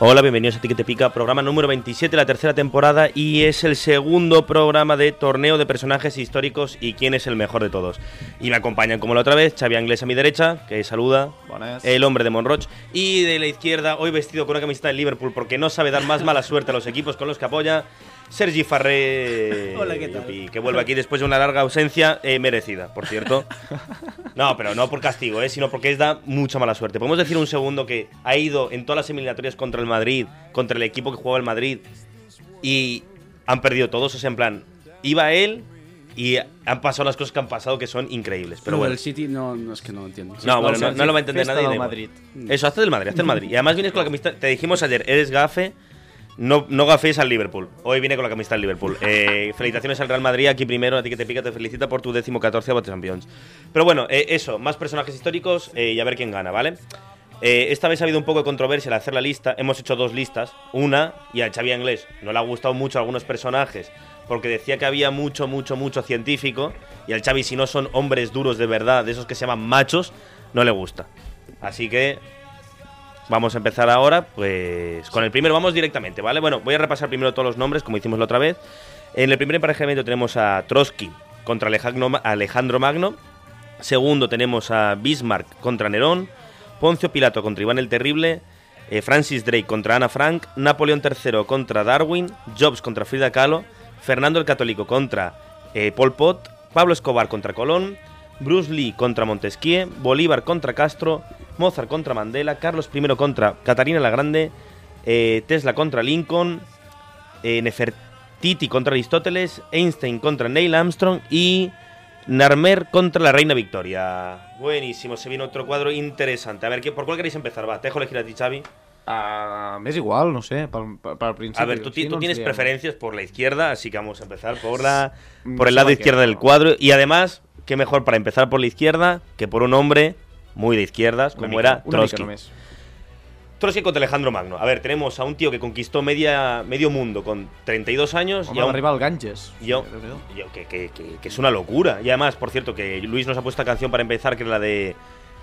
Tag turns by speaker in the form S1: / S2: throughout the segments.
S1: Hola, bienvenidos a Tiquete Pica, programa número 27 de la tercera temporada y es el segundo programa de torneo de personajes históricos y quién es el mejor de todos. Y me acompañan como la otra vez Xavi Anglés a mi derecha, que saluda,
S2: Bones.
S1: el hombre de Monroch, y de la izquierda, hoy vestido con una camiseta de Liverpool porque no sabe dar más mala suerte a los equipos con los que apoya, Sergi Farré,
S3: Hola, ¿qué tal?
S1: y que vuelve aquí después de una larga ausencia eh, merecida, por cierto. No, pero no por castigo, ¿eh? sino porque es da mucha mala suerte. Podemos decir un segundo que ha ido en todas las eliminatorias contra el Madrid, contra el equipo que jugaba el Madrid, y han perdido todos. O sea, en plan, iba él y han pasado las cosas que han pasado que son increíbles. Pero
S3: Lo
S1: bueno,
S3: del City no, no es que no lo entiendo.
S1: no, bueno, no,
S2: Fiesta
S1: no lo va a entender
S2: del
S1: nadie. da igual. Mm.
S2: Madrid.
S1: Eso, hazte del Madrid, hazte del Madrid. Y además vienes con la camiseta, te dijimos ayer, eres gafe. No, no gaféis al Liverpool. Hoy viene con la camiseta del Liverpool. Eh, felicitaciones al Real Madrid. Aquí primero, a ti que te pica, te felicita por tu décimo catorceavo Champions. Pero bueno, eh, eso, más personajes históricos eh, y a ver quién gana, ¿vale? Eh, esta vez ha habido un poco de controversia al hacer la lista. Hemos hecho dos listas. Una, y a Xavi Anglés no le ha gustado mucho algunos personajes porque decía que había mucho, mucho, mucho científico. Y al Xavi, si no son hombres duros de verdad, de esos que se llaman machos, no le gusta. Así que Vamos a empezar ahora, pues con el primero vamos directamente, ¿vale? Bueno, voy a repasar primero todos los nombres, como hicimos la otra vez. En el primer emparejamiento tenemos a Trotsky contra Alejandro Ma- Alejandro Magno. Segundo tenemos a Bismarck contra Nerón. Poncio Pilato contra Iván el Terrible. eh, Francis Drake contra Ana Frank. Napoleón III contra Darwin. Jobs contra Frida Kahlo. Fernando el Católico contra eh, Pol Pot. Pablo Escobar contra Colón. Bruce Lee contra Montesquieu. Bolívar contra Castro. Mozart contra Mandela. Carlos I contra Catarina la Grande. eh, Tesla contra Lincoln. eh, Nefertiti contra Aristóteles. Einstein contra Neil Armstrong. Y Narmer contra la Reina Victoria. Buenísimo, se viene otro cuadro interesante. A ver, ¿qué- ¿por cuál queréis empezar? Va, te dejo elegir a ti, Xavi.
S2: Ah, m'és igual, no sé, pel, pel, pel principi.
S1: A ver, tú, ti-
S2: Així
S1: tú
S2: no ens
S1: tienes
S2: liem.
S1: preferencias por la izquierda, así que vamos a empezar por la
S2: No
S1: por el
S2: sé
S1: lado
S2: per què,
S1: izquierdo del
S2: no.
S1: cuadro. Y además, qué mejor para empezar por la izquierda que por un hombre muy de izquierdas,
S2: Una
S1: como
S2: mica,
S1: era
S2: una mica
S1: Trotsky.
S2: només.
S1: Trotsky contra Alejandro Magno. A ver, tenemos a un tío que conquistó media, medio mundo con 32 años
S2: Home,
S1: y a
S2: va
S1: un
S2: arribar al Ganges.
S1: Yo,
S2: Déu-n'hi-do.
S1: yo- que, que- que- que es una locura. Y además, por cierto, que Luis nos ha puesto esta canción para empezar, que es la de.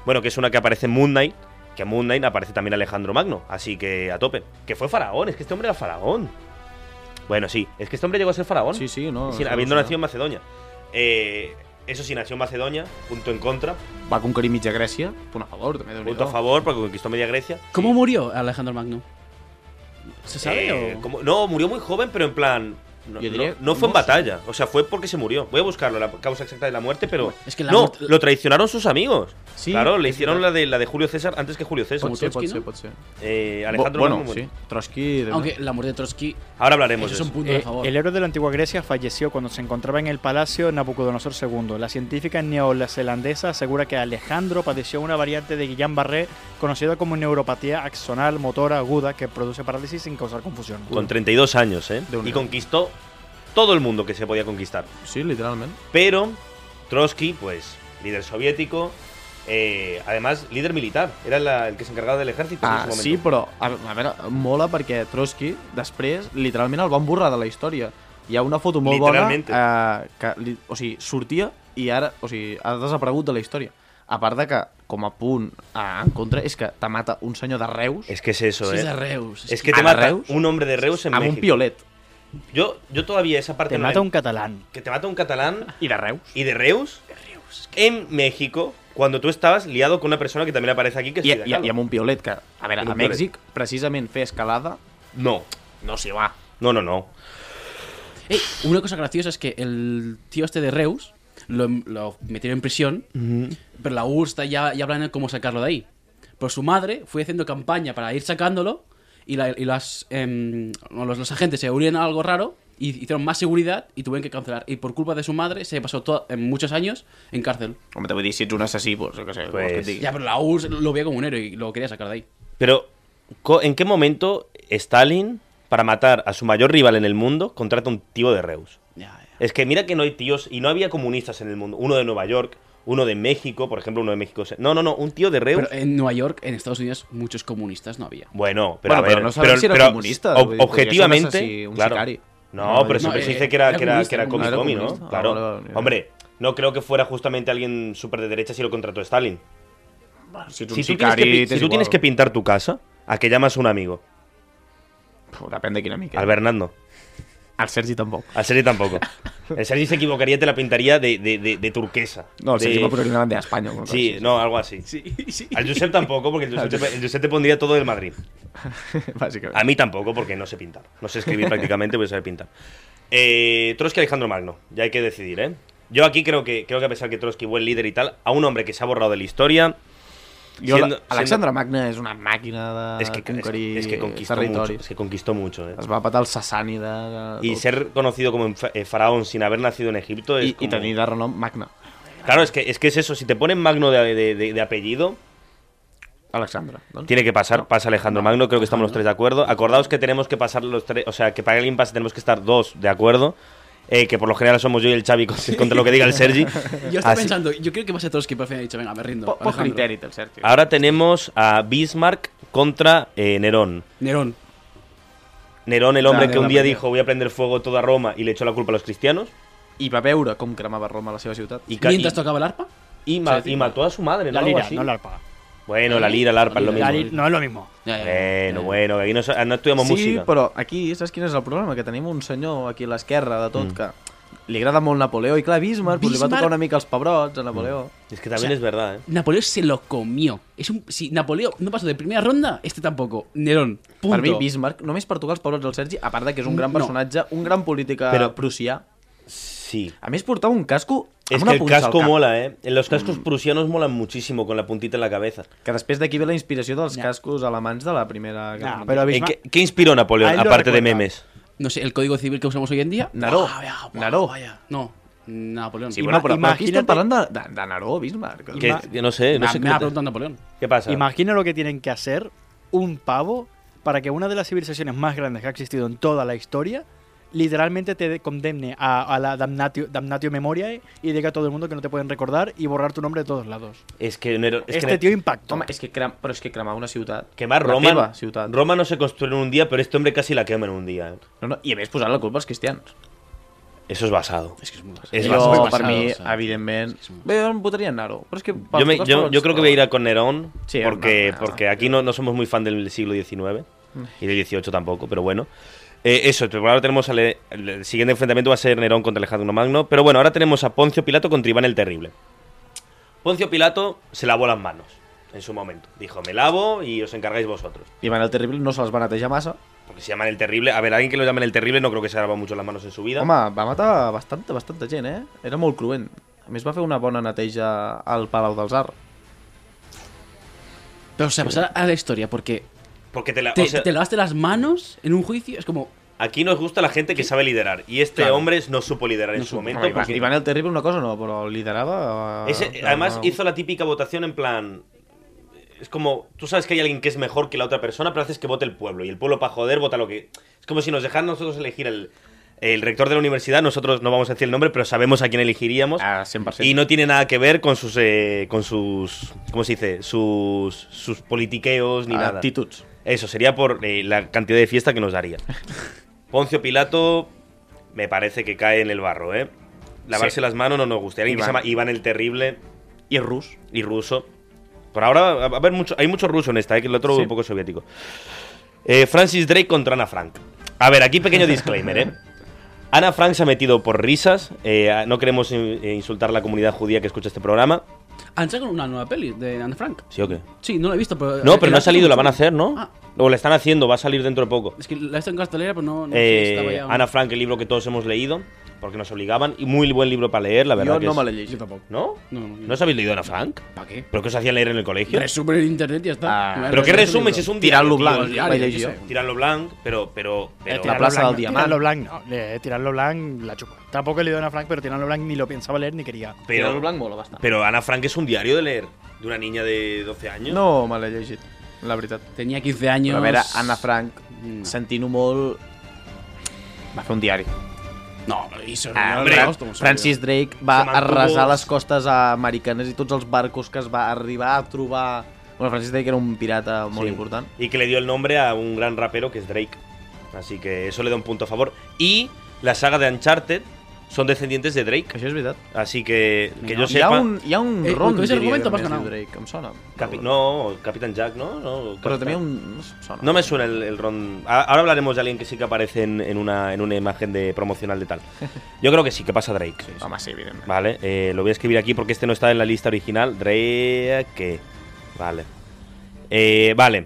S1: Bueno, que es una que aparece en Moon Knight. Que en Moon Knight aparece también Alejandro Magno. Así que a tope. Que fue faraón, es que este hombre era faraón. Bueno, sí, es que este hombre llegó a ser faraón.
S2: Sí, sí, no.
S1: sin-
S2: no sé
S1: habiendo
S2: com serà.
S1: nacido en Macedonia. Eh, eso sí, nació en Macedonia, punto en contra.
S2: Va conquerir mitja Grècia. Punt a favor, també, déu nhi
S1: Punto a favor, porque conquistó media Grecia.
S3: ¿Cómo murió Alejandro Magno? ¿Se sabe
S1: Eh,
S3: o...?
S1: como- no, murió muy joven, pero en plan. No,
S2: Yo diría-
S1: no- no fue en
S2: no sé.
S1: batalla, o sea, fue porque se murió. Voy a buscarlo, la causa exacta de la muerte, pero.
S3: Es que la
S1: no,
S3: muerte-
S1: lo traicionaron sus amigos.
S2: Sí,
S1: claro, le
S2: es
S1: hicieron
S2: verdad.
S1: la de, la de Julio César antes que Julio César.
S2: Pot ser,
S3: Trotsky,
S2: pot ser,
S3: no?
S2: pot ser.
S1: Eh,
S2: Bo-
S1: Alejandro
S2: bueno,
S1: Magno murió.
S2: sí. Trotsky... déu-n'hi-do.
S3: Aunque la muerte de Trotsky
S1: Ahora hablaremos de
S3: eso es un
S1: eso.
S3: punto
S4: Eh,
S3: de favor.
S4: el héroe de la antigua Grecia falleció cuando se encontraba en el palacio Nabucodonosor II. La científica neozelandesa asegura que Alejandro padeció una variante de Guillain-Barré conocida como neuropatía axonal motora aguda que produce parálisis sin causar confusión.
S1: Con 32 años, ¿eh?
S2: De un
S1: Y
S2: lado.
S1: conquistó todo el mundo que se podía conquistar.
S2: Sí, literalment.
S1: Pero Trotsky, pues, líder soviético, eh, además líder militar, era la- el que se encargaba del ejército en
S2: Ah,
S1: ese momento.
S2: sí, però a, a veure, mola perquè Trotsky després literalment el van borrar de la història. Hi ha una foto molt bona
S1: Literalment.
S2: eh, que li, o sigui, sortia i ara o sigui, ha desaparegut de la història. A part de que, com a punt a, en contra, és que te mata un senyor de Reus
S1: Es que es eso,
S3: Sí,
S1: ¿eh?
S3: es de Reus.
S1: Es que
S2: ¿A
S1: te mata
S2: Reus?
S1: un hombre de Reus en
S2: amb un
S1: México.
S2: piolet.
S1: Yo, yo todavía esa parte
S4: Te
S1: no
S4: mata
S1: la-
S4: un catalán.
S1: que te mata un catalán
S2: I de Reus.
S1: y de Reus, en México cuando tú estabas liado con una persona que también aparece aquí que es
S2: I,
S1: Frida
S2: i,
S1: Kahlo.
S2: I amb un piolet que, a veure,
S1: I amb
S2: a
S1: un piolet.
S2: Mèxic, precisament fer escalada
S1: No,
S2: no s'hi va.
S1: no, no, no.
S3: Ey, Eh, una cosa graciosa es que el tío este de Reus lo, lo metieron en prisión, pero la URSS está ya, ya hablando de cómo sacarlo de ahí. Pero su madre fue haciendo campaña para ir sacándolo y, la- y las, em, los, los agentes se unieron a algo raro y hicieron más seguridad y tuvieron que cancelar. Y por culpa de su madre se pasó to- en muchos años en cárcel.
S2: Home, te vull dir, si ets un assassí, pues, jo què sé, què vols que
S1: Pues-
S2: et digui?
S3: Ya, pero la URSS lo veía como un héroe y lo quería sacar de ahí.
S1: Pero co- ¿en qué momento Stalin para matar a su mayor rival en el mundo contrata un tío de Reus?
S3: Ya, ya.
S1: Es que mira que no hay tíos, y no había comunistas en el mundo. Uno de Nueva York, uno de México, por ejemplo, uno de México. se- No, no, no, un tío de Reus.
S4: eh,
S3: Pero en Nueva York, en Estados Unidos, muchos comunistas no había.
S1: Bueno, pero
S2: Bueno,
S1: a ver,
S2: pero no sabes si era comunista,
S1: ob-
S2: porque eso no es
S1: objetivamente,
S2: así, un
S1: claro.
S2: sicario.
S1: No,
S2: No,
S1: pero
S2: no,
S1: siempre
S3: eh,
S1: se dice que era
S3: era
S1: que era,
S3: comunista,
S1: que era
S3: era
S1: Comic Comi,
S2: comunista.
S1: ¿no?
S2: Ah,
S1: Claro.
S2: vale, vale, vale.
S1: Hombre, no creo que fuera justamente alguien súper de derecha si lo contrató Stalin.
S2: Si tú,
S1: Si tú, tienes que, pi- si tú tienes que pintar tu casa, ¿a qué llamas a un amigo?
S2: Depèn de quina mica.
S1: Al Bernardo.
S2: El Sergi tampoc.
S1: Al Sergi tampoco. El Sergi se equivocaría, te la pintaría de, de- de- de turquesa.
S2: No, el Sergi
S1: De-
S2: va posar una bandera a Espanya. o alguna cosa
S1: Sí,
S2: així.
S1: no, algo así.
S3: Sí, sí.
S1: Al Josep tampoco, porque el Josep, te, el Josep te pondría todo del Madrid.
S2: Bàsicament.
S1: A mí tampoco, porque no sé pintar. No sé escribir prácticamente, voy a saber pintar. Eh, Trotsky Alejandro Magno, ya hay que decidir, ¿eh? Yo aquí creo que, creo que a pesar que Trotsky, buen líder y tal, a un hombre que se ha borrado de la historia.
S2: Jo,
S1: siendo-
S2: la- Alexandre Magna és una màquina
S1: siendo-
S2: de
S1: es, que, es-
S2: conquerir
S1: es que conquistó mucho.
S2: territoris.
S1: Es que conquistó mucho, ¿eh?
S2: Es va patar el sassànida... De...
S1: Y ser conocido como en fa- eh, faraón sin haber nacido en Egipto es
S2: I, i
S1: como-
S2: tenir de renom Magna.
S1: Claro, es que, es que es eso. Si te ponen Magno de, de- de- de apellido,
S2: Alexandre. Doncs.
S1: tiene que pasar. Pasa Alejandro Magno, creo que estamos los tres de acuerdo. Acordaos que tenemos que pasar los tres. O sea, que para el impasse tenemos que estar dos de acuerdo. eh, que por lo general somos yo y el Xavi con- contra lo que diga el Sergi.
S3: Yo estaba
S1: Así-
S3: pensando, yo creo que va a ser Trotsky, pero al final he dicho, venga, me rindo.
S2: Po- Poc
S3: Alejandro.
S2: criteri té el Sergi.
S1: Ahora tenemos a Bismarck contra eh, Nerón.
S3: Nerón.
S1: Nerón, el hombre
S2: Dale,
S1: que un
S2: la
S1: día
S2: primera.
S1: dijo voy a prender fuego toda Roma y le echó la culpa a los cristianos.
S2: I va veure com cremava Roma la seva ciutat.
S1: Y, ca- y-
S3: Mientras tocaba el arpa,
S1: y ma-
S3: Sí, sí.
S1: y mató a su madre, ¿no?
S4: La
S1: Algo
S4: lira,
S1: así.
S4: no la arpa.
S1: Bueno, la lira, el arpa, es lo
S3: La
S1: mismo.
S3: lira.
S4: no es lo mismo.
S3: Ya, ya, ya, ya,
S1: Bueno,
S3: ya.
S1: bueno, que aquí no, so- no estudiamos
S2: sí,
S1: música.
S2: però aquí, saps quin és el problema? Que tenim un senyor aquí a l'esquerra de tot
S1: Mm.
S2: que li agrada molt Napoleó i clar, Bismarck, Bismarck... Doncs li va
S3: Bismarck-
S2: tocar una mica els pebrots a Napoleó.
S1: Es que también
S3: O sea,
S1: es verdad, ¿eh?
S3: Napoleón se lo comió. Es un, si Napoleón no pasó de primera ronda, este tampoco. Nerón. Punto.
S2: Per mi, Bismarck, només per tocar els pebrots del Sergi, a part de que és un gran
S3: No.
S2: personatge, un gran polític
S1: Però-
S2: Però... prussià.
S1: Sí.
S2: A més, portava un casco amb
S1: Es
S2: una
S1: que el
S2: punxa al
S1: casco
S2: cap,
S1: mola, ¿eh? Los cascos
S4: Mm.
S1: prusianos molan muchísimo con la puntita en la cabeza.
S2: Que després d'aquí ve la inspiració dels
S3: Ja.
S2: cascos alemans de la primera... Guerra
S4: No,
S2: Mundial.
S4: pero
S1: Eh,
S4: Bismarck,
S1: ¿Qué, qué inspiró
S4: Pues A él
S1: Napoleón,
S4: lo
S1: aparte de
S4: recuerda.
S1: memes?
S3: No sé, el código civil que usamos hoy en día.
S2: Naró.
S3: Ah, vaya, guau,
S2: Naró.
S3: Vaya. No, Napoleón.
S2: Sí,
S3: Me-
S4: Ima-
S2: bueno, però, però aquí estem
S4: imagina't-
S2: parlant de, de, de Naró, Bismarck.
S1: Que- que no sé, no sé
S3: me
S1: qué-
S3: ha preguntado Napoleón.
S1: ¿Qué pasa?
S4: Imagina lo que tienen que hacer un pavo para que una de las civilizaciones más grandes que ha existido en toda la historia literalmente te de- condemne a, a la damnatio, damnatio memoriae y diga a todo el mundo que no te pueden recordar y borrar tu nombre de todos lados.
S1: Es que Nerón- es que
S4: este tío impactó.
S2: Home, és que crem... però és que cremar una ciutat...
S1: Quemar
S2: la
S1: Roma.
S2: teva ciutat.
S1: Roma no se construyó en un día, pero este hombre casi la quema en un día. ¿eh?
S2: No, no, I a més posar la culpa als cristians.
S1: Eso es basado.
S3: Es que es muy
S1: Es
S2: jo,
S1: basado.
S2: per mi,
S3: o sea,
S2: evidentment...
S3: és molt-
S2: Bé, jo em votaria en Naro, però és que...
S1: Yo, me- yo- yo creo que voy a ir a con Nerón,
S2: Sí,
S1: porque,
S2: no, no, no.
S1: porque aquí no, no somos muy fan del siglo XIX y del XVIII tampoco, pero bueno. Eh, eso, pero ahora tenemos al- el, el siguiente enfrentamiento va a ser Nerón contra Alejandro Magno, pero bueno, ahora tenemos a Poncio Pilato contra Iván el Terrible. Poncio Pilato se lavó las manos en su momento. Dijo, me lavo y os encargáis vosotros.
S2: Ivan el Terrible no se les va netejar massa.
S1: Porque se llaman el Terrible. A ver, alguien que lo llamen el Terrible no creo que se lava mucho las manos en su vida.
S2: Home, va matar bastanta, bastanta gent, eh? Era molt cruent. A més, va fer una bona neteja al Palau del Zar.
S3: Pero, o sea, pasar a la historia, porque
S1: Porque te la- o
S3: te,
S1: sea,
S3: te lavaste las manos en un juicio, es como.
S1: aquí nos gusta la gente que sabe liderar. Y este
S3: Claro.
S1: hombre no supo liderar en
S3: No
S1: su
S3: supo.
S1: momento.
S2: No, Ivan,
S1: porque-
S2: Ivan el Terrible una cosa no, però liderava... eh,
S1: Ese-
S2: no,
S1: además
S2: no.
S1: hizo la típica votación en plan... Es como, tú sabes que hay alguien que es mejor que la otra persona, pero haces que vote el pueblo. Y el pueblo, para joder, vota lo que... Es como si nos dejaran nosotros elegir el, el rector de la universidad. Nosotros no vamos a decir el nombre, pero sabemos a quién elegiríamos.
S2: Ah, 100%.
S1: y no tiene nada que ver con sus... eh, con sus ¿Cómo se dice? Sus, sus politiqueos
S2: Ah,
S1: ni nada.
S2: Actituds.
S1: Eso, sería por eh, la cantidad de fiesta que nos daría. Poncio Pilato me parece que cae en el barro, ¿eh? Lavarse
S2: Sí.
S1: las manos no nos gusta. Alguien que se
S2: Iván.
S1: llama Iván el Terrible
S2: I és rus.
S1: y ruso. Por ahora va a haber mucho, hay mucho ruso en esta, ¿eh? que el otro
S2: Sí.
S1: un poco soviético. Eh, Francis Drake contra Ana Frank. A ver, aquí pequeño disclaimer, ¿eh? Ana Frank se ha metido por risas. eh, a- no queremos eh, insultar a la comunidad judía que escucha este programa.
S3: Han sacado una nueva peli de Anne Frank.
S1: ¿Sí o qué?
S3: Sí, no la he visto, pero.
S1: No, pero no ha
S3: el-
S1: salido, la van a hacer, ¿no?
S3: Ah.
S1: O la están haciendo, va a salir dentro de poco.
S3: Es que la he visto en cartelera, pero no. no sé,
S1: Eh,
S3: estaba ya-
S1: Ana Frank, el libro que todos hemos leído, porque nos obligaban, y muy buen libro para leer, la verdad.
S2: Jo
S1: que
S2: no
S1: es-
S2: me l'he llegit.
S3: Yo tampoco.
S1: ¿No?
S3: No, no,
S1: ¿No os habéis leído Ana Frank?
S3: ¿Para qué?
S1: ¿Pero qué os hacían leer en el colegio?
S3: Resumen en internet y ya está.
S2: Ah.
S3: Me voy a
S1: ¿Pero qué
S3: leer ese
S1: resumen?
S3: libro.
S1: Si es un diario, tío,
S2: Tirant-lo blanc,
S1: es
S3: diario,
S2: vaig
S3: jo
S2: llegir
S3: sé.
S2: jo.
S1: Tirarlo blanco, pero. pero, pero
S2: La Plaza del Diamant.
S4: Tirarlo blanco, no. Le- tirarlo blanco, la chupa. Tampoco le dio a Ana Frank, pero tirarlo blanco ni lo pensaba leer ni quería.
S1: pero,
S2: Tirant-lo blanc mola bastant.
S1: pero Ana Frank es un diario de leer de una niña de 12 años.
S2: No me l'he llegit, la veritat.
S3: Tenía 15 años.
S2: Però a veure, Anna Frank,
S3: No.
S2: sentint-ho molt... Va fer un diari.
S3: No, no hizo.
S2: Ah,
S3: no,
S1: hombre,
S3: no, hostia, un sol,
S2: Francis Drake va
S1: Se mantuvo-
S2: arrasar les costes americanes i tots els barcos que es va arribar a trobar... Bueno, Francis Drake era un pirata molt
S1: Sí.
S2: important.
S1: Y que le dio el nombre a un gran rapero que es Drake. Así que eso le da un punto a favor. Y la saga de Uncharted son descendientes de Drake.
S2: Això és veritat.
S1: Así que que
S3: Venga,
S1: yo
S2: Hi ha
S1: sepa.
S2: un, hi ha un
S3: Eh,
S2: ron,
S3: lo que és el
S2: diria,
S3: argumento
S2: de
S3: más
S2: Francis
S3: ganado.
S2: Drake, em sona.
S1: Capi-
S2: Però-
S1: no, Capitán Jack, ¿no? no
S2: Però
S1: Capitán-
S2: també hi ha un... No sé, em sona.
S1: No me suena el, el ron. A- Ahora hablaremos de alguien que sí que aparece en, en una, en una imagen de promocional de tal. Yo creo que sí, que pasa Drake.
S2: Home, sí, evidentment.
S1: Vale, eh, lo voy a escribir aquí porque este no está en la lista original. Drake. Vale. Eh, vale.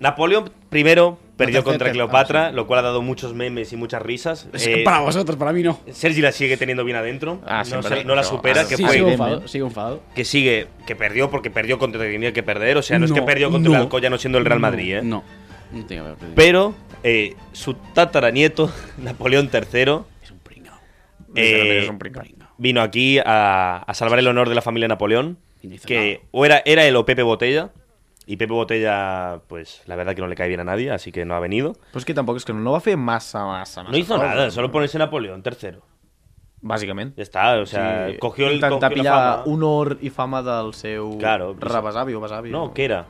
S1: Napoleón I perdió
S4: Tercer-
S1: contra
S4: ter-
S1: Cleopatra,
S4: ah, sí.
S1: lo cual ha dado muchos memes y muchas risas.
S3: Es
S1: Eh,
S3: que para vosotros, para mí no.
S1: Sergi la sigue teniendo bien adentro.
S2: Ah,
S1: no,
S2: siempre.
S1: se- no la
S2: No,
S1: supera,
S2: ah,
S1: que
S3: sí,
S1: fue.
S3: sigo
S2: Evidentment.
S3: enfadado, sigo enfadado.
S1: Que sigue, que perdió porque perdió contra el que tenía que perder. O sea, no, es que
S3: No,
S1: perdió contra el
S3: no.
S1: Alcoya no siendo el Real
S3: No,
S1: Madrid, ¿eh?
S3: No, no tiene que haber perdido.
S1: Pero eh, su tataranieto, Napoleón III,
S3: Es un pringao.
S1: eh,
S2: és un pringao.
S3: pringao.
S1: vino aquí a, a salvar el honor de la familia Napoleón.
S3: Y no hizo
S1: Que
S3: nada.
S1: o era, era él o Pepe Botella. Y Pepe Botella, pues la verdad que no le cae bien a nadie, así que no ha venido.
S2: Però és que tampoc és que no va fer massa, massa, massa.
S1: No hizo
S2: cosa.
S1: nada, solo ponerse Napoleón III.
S2: Bàsicament.
S1: Ya está, o sea,
S2: Sí,
S1: cogió el
S2: intentar
S1: cogió la
S2: pillar
S1: fama.
S2: honor i fama del seu
S1: Claro.
S2: rebesavi o besavi.
S1: No, ¿qué era?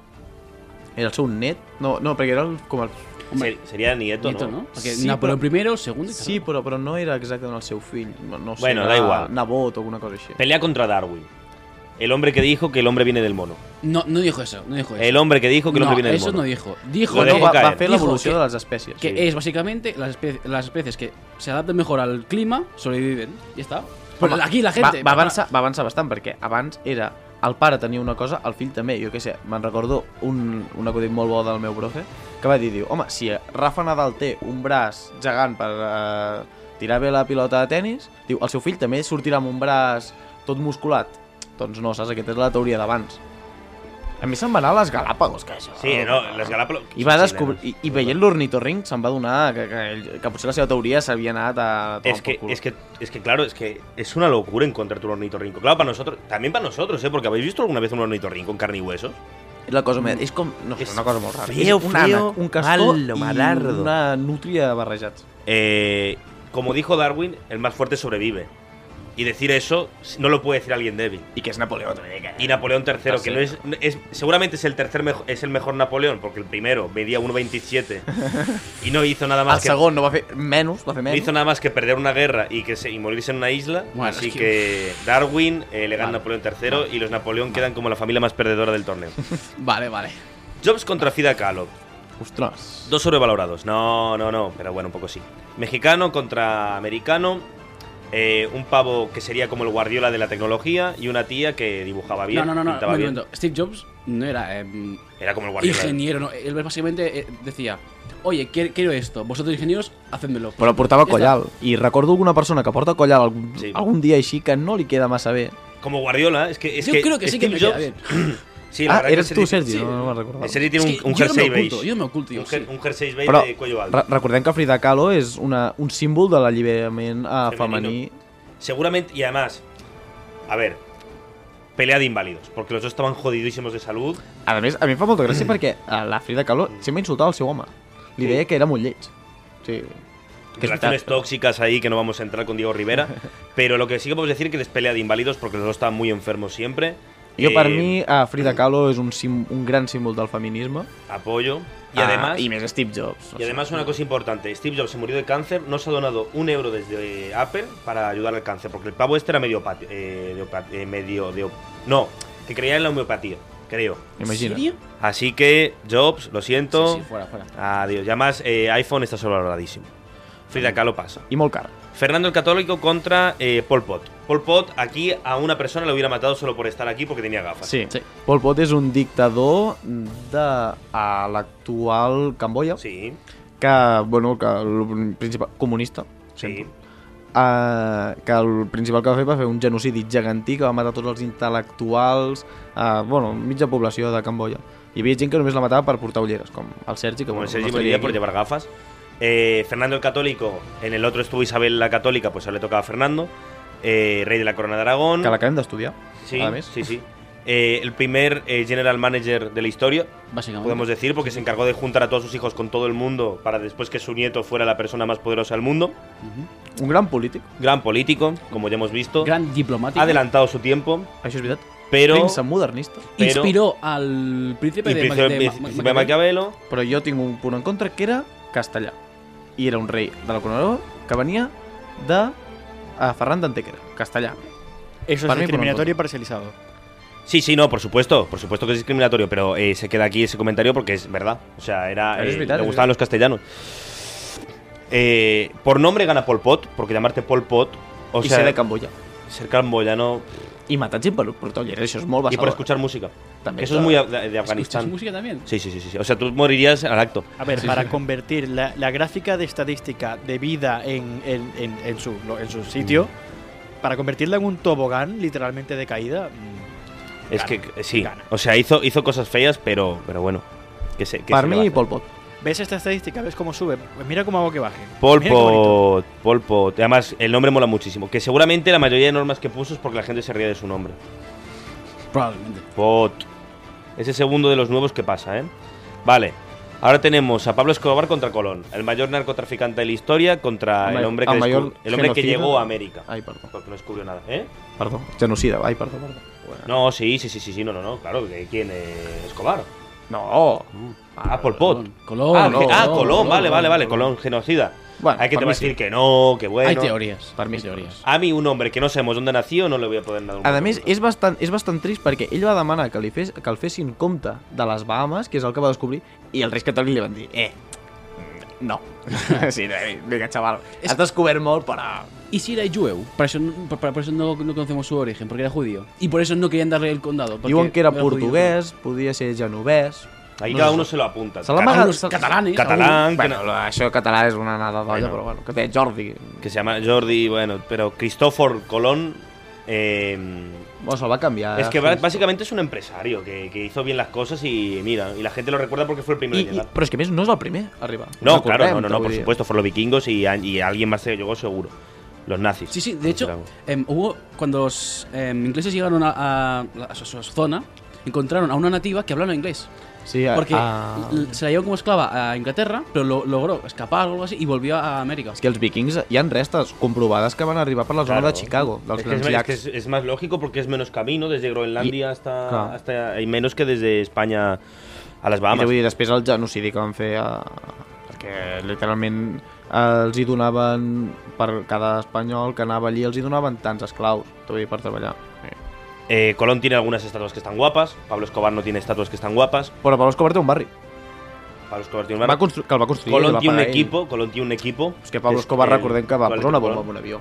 S2: Era el seu net? No, no perquè era el, com el...
S3: Hombre,
S1: Se- sería nieto,
S3: Nieto,
S1: ¿no?
S3: ¿no? Porque
S2: Sí,
S3: Napoleón
S2: pero-
S3: primero, segundo y
S2: Sí,
S3: tercero.
S2: però, però no era exactament el seu fill. No, no sé,
S1: Bueno,
S2: era
S1: da igual.
S2: Nebot o alguna cosa així.
S1: Pelea contra Darwin. El hombre que dijo que el hombre viene del mono.
S3: No, no dijo eso, no dijo eso.
S1: El hombre que dijo que el
S3: Pues no,
S1: hombre viene del
S3: eso
S1: mono.
S3: no dijo. Dijo
S1: Lo
S2: No,
S3: que-
S1: dejó
S2: va,
S1: caer.
S2: va fer
S3: Dijo
S2: l'evolució
S3: que-
S2: de les espècies.
S3: que
S2: sí.
S3: es básicamente las especies, las especies que se adaptan mejor al clima sobreviven. Ya está. Pero
S2: Home,
S3: aquí la gente.
S2: Va, va, avançar, va avançar bastant, perquè abans era... El pare tenia una cosa, el fill també. Jo què sé, me'n recordo un, un acudit molt bo del meu profe, que va dir, diu, home, si Rafa Nadal té un braç gegant per eh, tirar bé la pilota de tennis, diu, el seu fill també sortirà amb un braç tot musculat. Doncs no, saps? Aquesta és la teoria d'abans. A mi se'n va anar a les Galàpagos, que això...
S1: Sí, no, les Galápagos.
S2: I va
S1: Sí,
S2: descobrir...
S1: nenes.
S2: I, i veient l'ornitorrinc se'n va donar que, que, ell- que potser la seva teoria s'havia anat a... tomar
S1: Es
S2: por
S1: que,
S2: culo.
S1: es, que, es que, claro, es que es una locura encontrar un ornitorrinco. Claro, para nosotros, también para nosotros, ¿eh? Porque habéis visto alguna vez un ornitorrinco en carne y huesos.
S2: És la cosa més... És com... No, sé,
S1: És
S2: una cosa molt rara.
S1: feo,
S2: és un ànec,
S1: feo,
S2: un castor
S1: malo,
S2: i
S1: malardo.
S2: una nútria barrejats.
S1: Eh, como dijo Darwin, el más fuerte sobrevive. Y decir eso no lo puede decir alguien débil.
S2: I que és Napoleó, també. Que...
S1: Y
S3: Eh,
S1: Napoleón III, que
S2: Tercero.
S1: no es, no- es- seguramente es el tercer mejo- es el mejor Napoleón, porque el primero medía 1,27 y no hizo nada
S2: El
S1: más que
S2: segon no va fer menys, va fer
S1: no
S2: menys.
S1: hizo nada más que perder una guerra y que se- y morirse en una isla.
S3: Bueno,
S1: así
S3: es
S1: que...
S3: que-
S1: Darwin eh, le gana
S3: Vale.
S1: a Napoleón III y los Napoleón quedan como la familia más perdedora del torneo.
S3: Vale, vale.
S1: Jobs contra Frida Kahlo.
S2: Ostres.
S1: Dos sobrevalorados. No, no, no, pero bueno, un poco sí. Mexicano contra americano. eh, un pavo que sería como el guardiola de la tecnología y una tía que dibujaba bien.
S3: no, no, no, no.
S1: pintaba
S3: un
S1: bien.
S3: momento. Steve Jobs no era em,
S1: Era como el guardiola.
S3: ingeniero, no. Él básicamente eh, decía, oye, quiero, quiero esto, vosotros ingenieros, hacédmelo.
S2: Però portava
S3: Ja està.
S2: collal. I recordo alguna persona que porta collal algun,
S1: Sí.
S2: sí. algun dia així que no li queda massa bé.
S1: Como Guardiola, es que. Es
S3: Yo
S1: que
S3: creo que sí que
S1: Steve
S3: me queda
S1: Jobs-
S3: bien.
S1: Sí, la
S2: ah,
S1: verdad que
S2: eres tu,
S1: Sergi-
S2: Sergi?
S3: sí.
S2: No, no me'n
S1: El
S2: recordava.
S1: Sergi tiene
S3: Es que
S1: un, un
S3: yo no me
S1: jersey
S3: oculto,
S1: beige.
S3: yo no me oculto, yo
S1: un, jer-
S3: sí.
S1: un jersey beige
S2: Però
S1: de cuello alto.
S2: re recordem que Frida Kahlo és una, un símbol de l'alliberament eh, femení.
S1: Femenino. Seguramente, y además, a ver, pelea de inválidos, porque los dos estaban jodidísimos de salud.
S2: A més, a mi em fa molta gràcia perquè eh, la Frida Kahlo sempre insultaba al seu home. Li
S1: Sí.
S2: deia que era molt lleig. Sí. Que és
S1: relaciones
S2: veritat, però-
S1: tóxicas ahí que no vamos a entrar con Diego Rivera. pero lo que sí que podemos decir es que les pelea de inválidos porque los dos estaban muy enfermos siempre.
S2: Jo,
S1: Eh,
S2: per mi, a Frida Kahlo és un, sim, un gran símbol del feminisme.
S1: Apoyo. Y
S2: Ah,
S1: además.
S2: I més Steve Jobs.
S1: Y además una cosa importante, Steve Jobs se murió de cáncer, no se ha donado un euro desde eh, Apple para ayudar al cáncer, porque el pavo este era medio, pat- eh, de opa- eh, medio de op- no, que creía en la homeopatía, creo.
S3: ¿En
S2: Imagina.
S3: serio?
S1: Así que Jobs, lo siento,
S3: Sí, sí, fuera, fuera.
S1: adiós. Y además eh, iPhone está sobrevaloradísimo. Frida Kahlo pasa.
S2: I molt car.
S1: Fernando el Católico contra eh, Pol Pot. Pol Pot aquí a una persona le hubiera matado solo por estar aquí porque tenía gafas.
S2: Sí.
S3: Sí.
S2: Pol Pot és un dictador de a l'actual Camboya,
S1: Sí,
S2: que, bueno, que el principal... comunista.
S1: sí.
S2: Uh, que el principal que va fer va fer un genocidi gegantí que va matar tots els intel·lectuals, uh, bueno, mitja població de Camboya. Hi havia gent que només la matava per portar ulleres, com el Sergi, que
S1: como el
S2: bueno,
S1: Sergi
S2: no estaria
S1: Moreira
S2: aquí.
S1: por llevar gafas. Eh, Fernando el Católico, en el otro estuvo Isabel la Católica, pues ahora le tocaba a Fernando. Eh, Rey de la Corona de Aragón.
S2: que l'acabem d'estudiar.
S1: sí,
S2: a més.
S1: sí, sí. eh, el primer eh, general manager de la historia,
S3: Básicamente.
S1: podemos decir, porque se encargó de juntar a todos sus hijos con todo el mundo para después que su nieto fuera la persona más poderosa del mundo.
S2: Un gran político.
S1: Gran político, como ya hemos visto.
S3: Gran diplomático.
S1: Ha adelantado su tiempo,
S2: Això és veritat.
S1: pero.
S2: Príncep modernista.
S1: pero-
S3: Inspiró al príncipe
S1: Y
S3: de, Ma-
S1: príncipe-
S3: de Ma-
S1: príncipe
S3: Ma-
S1: Maquiavelo.
S2: Però jo tinc un punt en contra que era castellà. I era un rei de la corona que venia de a Ferran d'Antequera, castellà.
S4: Eso
S2: Para
S4: es
S2: mí,
S4: discriminatorio y parcializado.
S1: Sí, sí, no, por supuesto, por supuesto que es discriminatorio, pero eh, se queda aquí ese comentario porque es verdad. O sea, era,
S2: Es
S1: eh,
S2: vital,
S1: le
S2: es
S1: gustaban los castellanos. Eh, por nombre gana Pol Pot, porque llamarte Pol Pot, o
S2: O I
S1: sea,
S2: ser de Camboya.
S1: ser camboyano
S2: I matats i per portolleres, això és
S1: y
S2: molt
S1: por
S2: basador.
S1: escuchar música.
S2: También,
S1: Eso es
S2: claro.
S1: muy de, de
S3: ¿Escuchas
S1: Afganistán.
S3: música también?
S1: Sí, sí, sí, sí, sí. O sea, tú morirías al acto.
S4: A ver,
S3: Sí,
S4: para
S3: sí.
S4: convertir la, la gráfica de estadística de vida en, en- en- en su, lo- en su sitio,
S3: Mm.
S4: para convertirla en un tobogán literalmente de caída, mm,
S1: es
S4: Gana,
S1: que eh, sí.
S4: gana.
S1: O sea, hizo, hizo cosas feas, pero, pero bueno. Que se, que
S2: Per
S1: se le va a
S2: mi,
S1: hacer.
S2: Pol Pot.
S4: ves esta estadística, ves cómo sube, pues mira cómo hago que baje.
S1: Pol
S4: Mira qué bonito.
S1: Pot, Pol Pot. Además, el nombre mola muchísimo. Que seguramente la mayoría de normas que puso es porque la gente se ría de su nombre.
S3: Probablemente.
S1: Pot. Ese segundo de los nuevos que pasa, ¿eh? Vale. Ahora tenemos a Pablo Escobar contra Colón, el mayor narcotraficante de la historia contra
S2: Home,
S1: Ah, el hombre que,
S2: el mayor
S1: descub- el hombre que
S2: genocida.
S1: llegó a América.
S2: Ai, perdó.
S1: Porque no descubrió nada, ¿eh?
S2: Perdó. Genocida. Ai, perdó, perdó.
S1: No, sí, sí, sí, sí, sí, no, no, no, claro, ¿de ¿quién? eh, Escobar.
S2: No.
S1: Ah, Pol Pot.
S3: Colón. Colón,
S1: ah,
S2: Colón,
S1: ge- ah,
S2: Colón,
S1: Colón, vale,
S2: Colón,
S1: vale, vale,
S2: Colón.
S1: Colón, genocida.
S2: Bueno,
S1: Hay que te
S2: para
S1: va a
S2: mí sí.
S1: decir que no, que bueno.
S3: Hay teorías.
S2: Per mi
S3: Hay
S2: sí.
S3: teorías.
S1: A mí un hombre que no sabemos dónde nació no le voy a poder dar un
S2: A
S1: voto
S2: més,
S1: nunca.
S2: és bastant, és bastant trist perquè ell va demanar que, li fes, que el fessin compte de les Bahamas, que és el que va descobrir, i els reis catòlics li van dir, eh, mm, no. sí, eh, vinga, xaval,
S3: És-
S2: has descobert molt, però...
S3: ¿Y si era Jueu? Por eso, no- por, por eso no, no conocemos su origen, porque era judío. Y por eso no querían darle el condado. porque
S2: Diuen que era
S3: judío.
S2: portuguès, podia ser genovès...
S1: Ahí
S2: no
S1: cada
S2: sé.
S1: uno se lo apunta.
S2: Se la
S1: Cada
S2: amaga-
S1: uno-
S3: Algunos catalanes.
S1: Catalán, que,
S2: Bueno, això català és una nada d'olla,
S1: Bueno.
S2: però bueno, que té Jordi.
S1: que se llama Jordi, bueno, pero Cristófor Colón. eh,
S2: Bueno, se'l va canviar.
S1: es que ba- básicamente es un empresario que, que hizo bien las cosas y mira, y la gente lo recuerda porque fue el primero
S2: I,
S1: en
S2: i,
S1: llegar.
S2: però és que a més no és el primer a arribar.
S1: No,
S2: Recordem,
S1: claro, no, no, no,
S2: vull
S1: por
S2: dir.
S1: supuesto, fueron los vikingos y, a- y alguien más se llegó seguro. Los nazis.
S3: Sí, sí, de hecho,
S1: Claro.
S3: em, hubo. Cuando los em, ingleses llegaron a, a la- a su, a su zona, encontraron a una nativa que hablaba inglés.
S2: Sí, a,
S3: Porque
S1: ah.
S2: a...
S3: l- se la llevó como esclava a Inglaterra, pero lo- logró escapar o algo así y volvió a América.
S2: És que els vikings hi han restes comprovades que van arribar per la zona
S1: Claro.
S2: de Chicago, dels
S1: Es que es,
S2: grans
S1: es que es-
S2: llacs.
S1: es más lógico porque es menos camino desde Groenlandia hasta,
S2: claro.
S1: hasta. Hay menos que desde España a las
S2: I
S1: Bahamas.
S2: vull dir, després el genocidi que van fer a... perquè literalment els hi donaven per cada espanyol que anava allí els hi donaven tants esclaus vull dir, per treballar
S1: Eh, Colón tiene algunas estatuas que están guapas. Pablo Escobar no tiene estatuas que están guapas.
S2: però Pablo Escobar té un barri
S1: Pablo Escobar tiene un
S2: va
S1: barco.
S2: constru- que el va construir el
S1: Colón
S2: va
S1: tiene un
S2: pagar ell.
S1: equipo, Colón tiene un equipo.
S2: és que Pablo
S1: Es
S2: Escobar
S1: el-
S2: recordem que va
S1: ¿cuál es
S2: posar una
S1: el Colón?
S2: bomba en un avió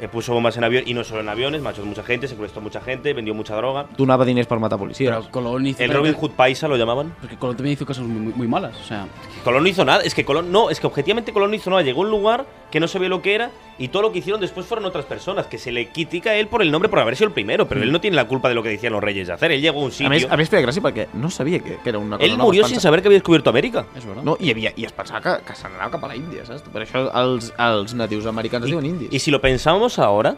S1: Eh, puso bombas en avión y no solo en aviones, mató mucha gente, secuestró mucha gente, vendió mucha droga.
S2: donava diners per matar policies
S3: Pero Colón hizo.
S1: El Robin Hood Paisa lo llamaban.
S3: Porque Colón también hizo cosas muy, muy- muy malas. O sea,
S1: Colón no hizo nada, es que Colón no, es que objetivamente Colón no hizo nada, llegó a un lugar que no sabía lo que era y todo lo que hicieron después fueron otras personas, que se le critica a él por el nombre por haber sido el primero, pero él no tiene la culpa de lo que decían los reyes de hacer, él llegó a un sitio.
S2: a més, a més feia gràcia perquè no sabia que, que era una cosa
S1: él
S2: nova,
S1: murió
S2: es
S1: sin
S2: pensa-
S1: saber que había descubierto América.
S3: es verdad.
S2: no, i, havia, i es pensava que, que se n'anava cap a la Índia, saps? Per això els, els natius americans es diuen indis.
S1: Y si lo pensamos ahora,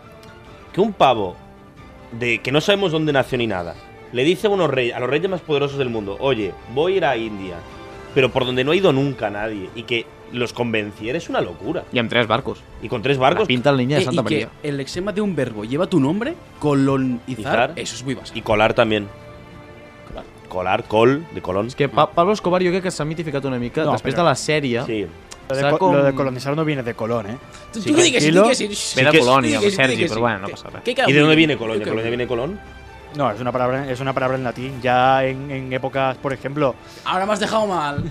S1: que un pavo de que no sabemos dónde nació ni nada, le dice a, unos reyes, a los reyes más poderosos del mundo, oye, voy a ir a India, pero por donde no ha ido nunca nadie, y que los convenciera es una locura.
S2: I amb tres barcos.
S1: Y con tres
S2: Barcos.
S1: barcos...
S2: La pinta la niña
S3: Eh,
S2: de Santa
S3: y que
S2: Maria.
S3: el lexema de un verbo lleva tu nombre, colonizar.
S1: Izar.
S3: Eso es muy básico.
S1: Y colar también. Colar, col, de Colón.
S2: És que pa Pablo Escobar jo crec que s'ha mitificat una mica
S4: No,
S2: després
S4: però-
S2: de la sèrie.
S1: Sí.
S4: Lo de,
S2: Será
S4: co-
S2: con-
S4: lo de colonizar no viene de Colón, ¿eh?
S3: Tú,
S1: Sí,
S3: tú di que sí,
S4: tranquilo.
S3: di que sí. Shh,
S2: Era
S3: di que sí,
S2: Colonia,
S1: pues,
S3: di que sí,
S2: Sergi,
S3: di que
S2: pero
S3: sí.
S2: bueno, no
S3: ¿Qué-
S2: pasa nada.
S3: qué
S1: ¿Y de
S3: cabrón?
S1: dónde viene
S3: ¿Qué
S1: Colón? ¿De
S3: cabrón?
S1: Colonia viene Colón?
S4: No, es una palabra, es una palabra en latín. Ya en, en épocas, por ejemplo,
S3: Ahora me has dejado mal.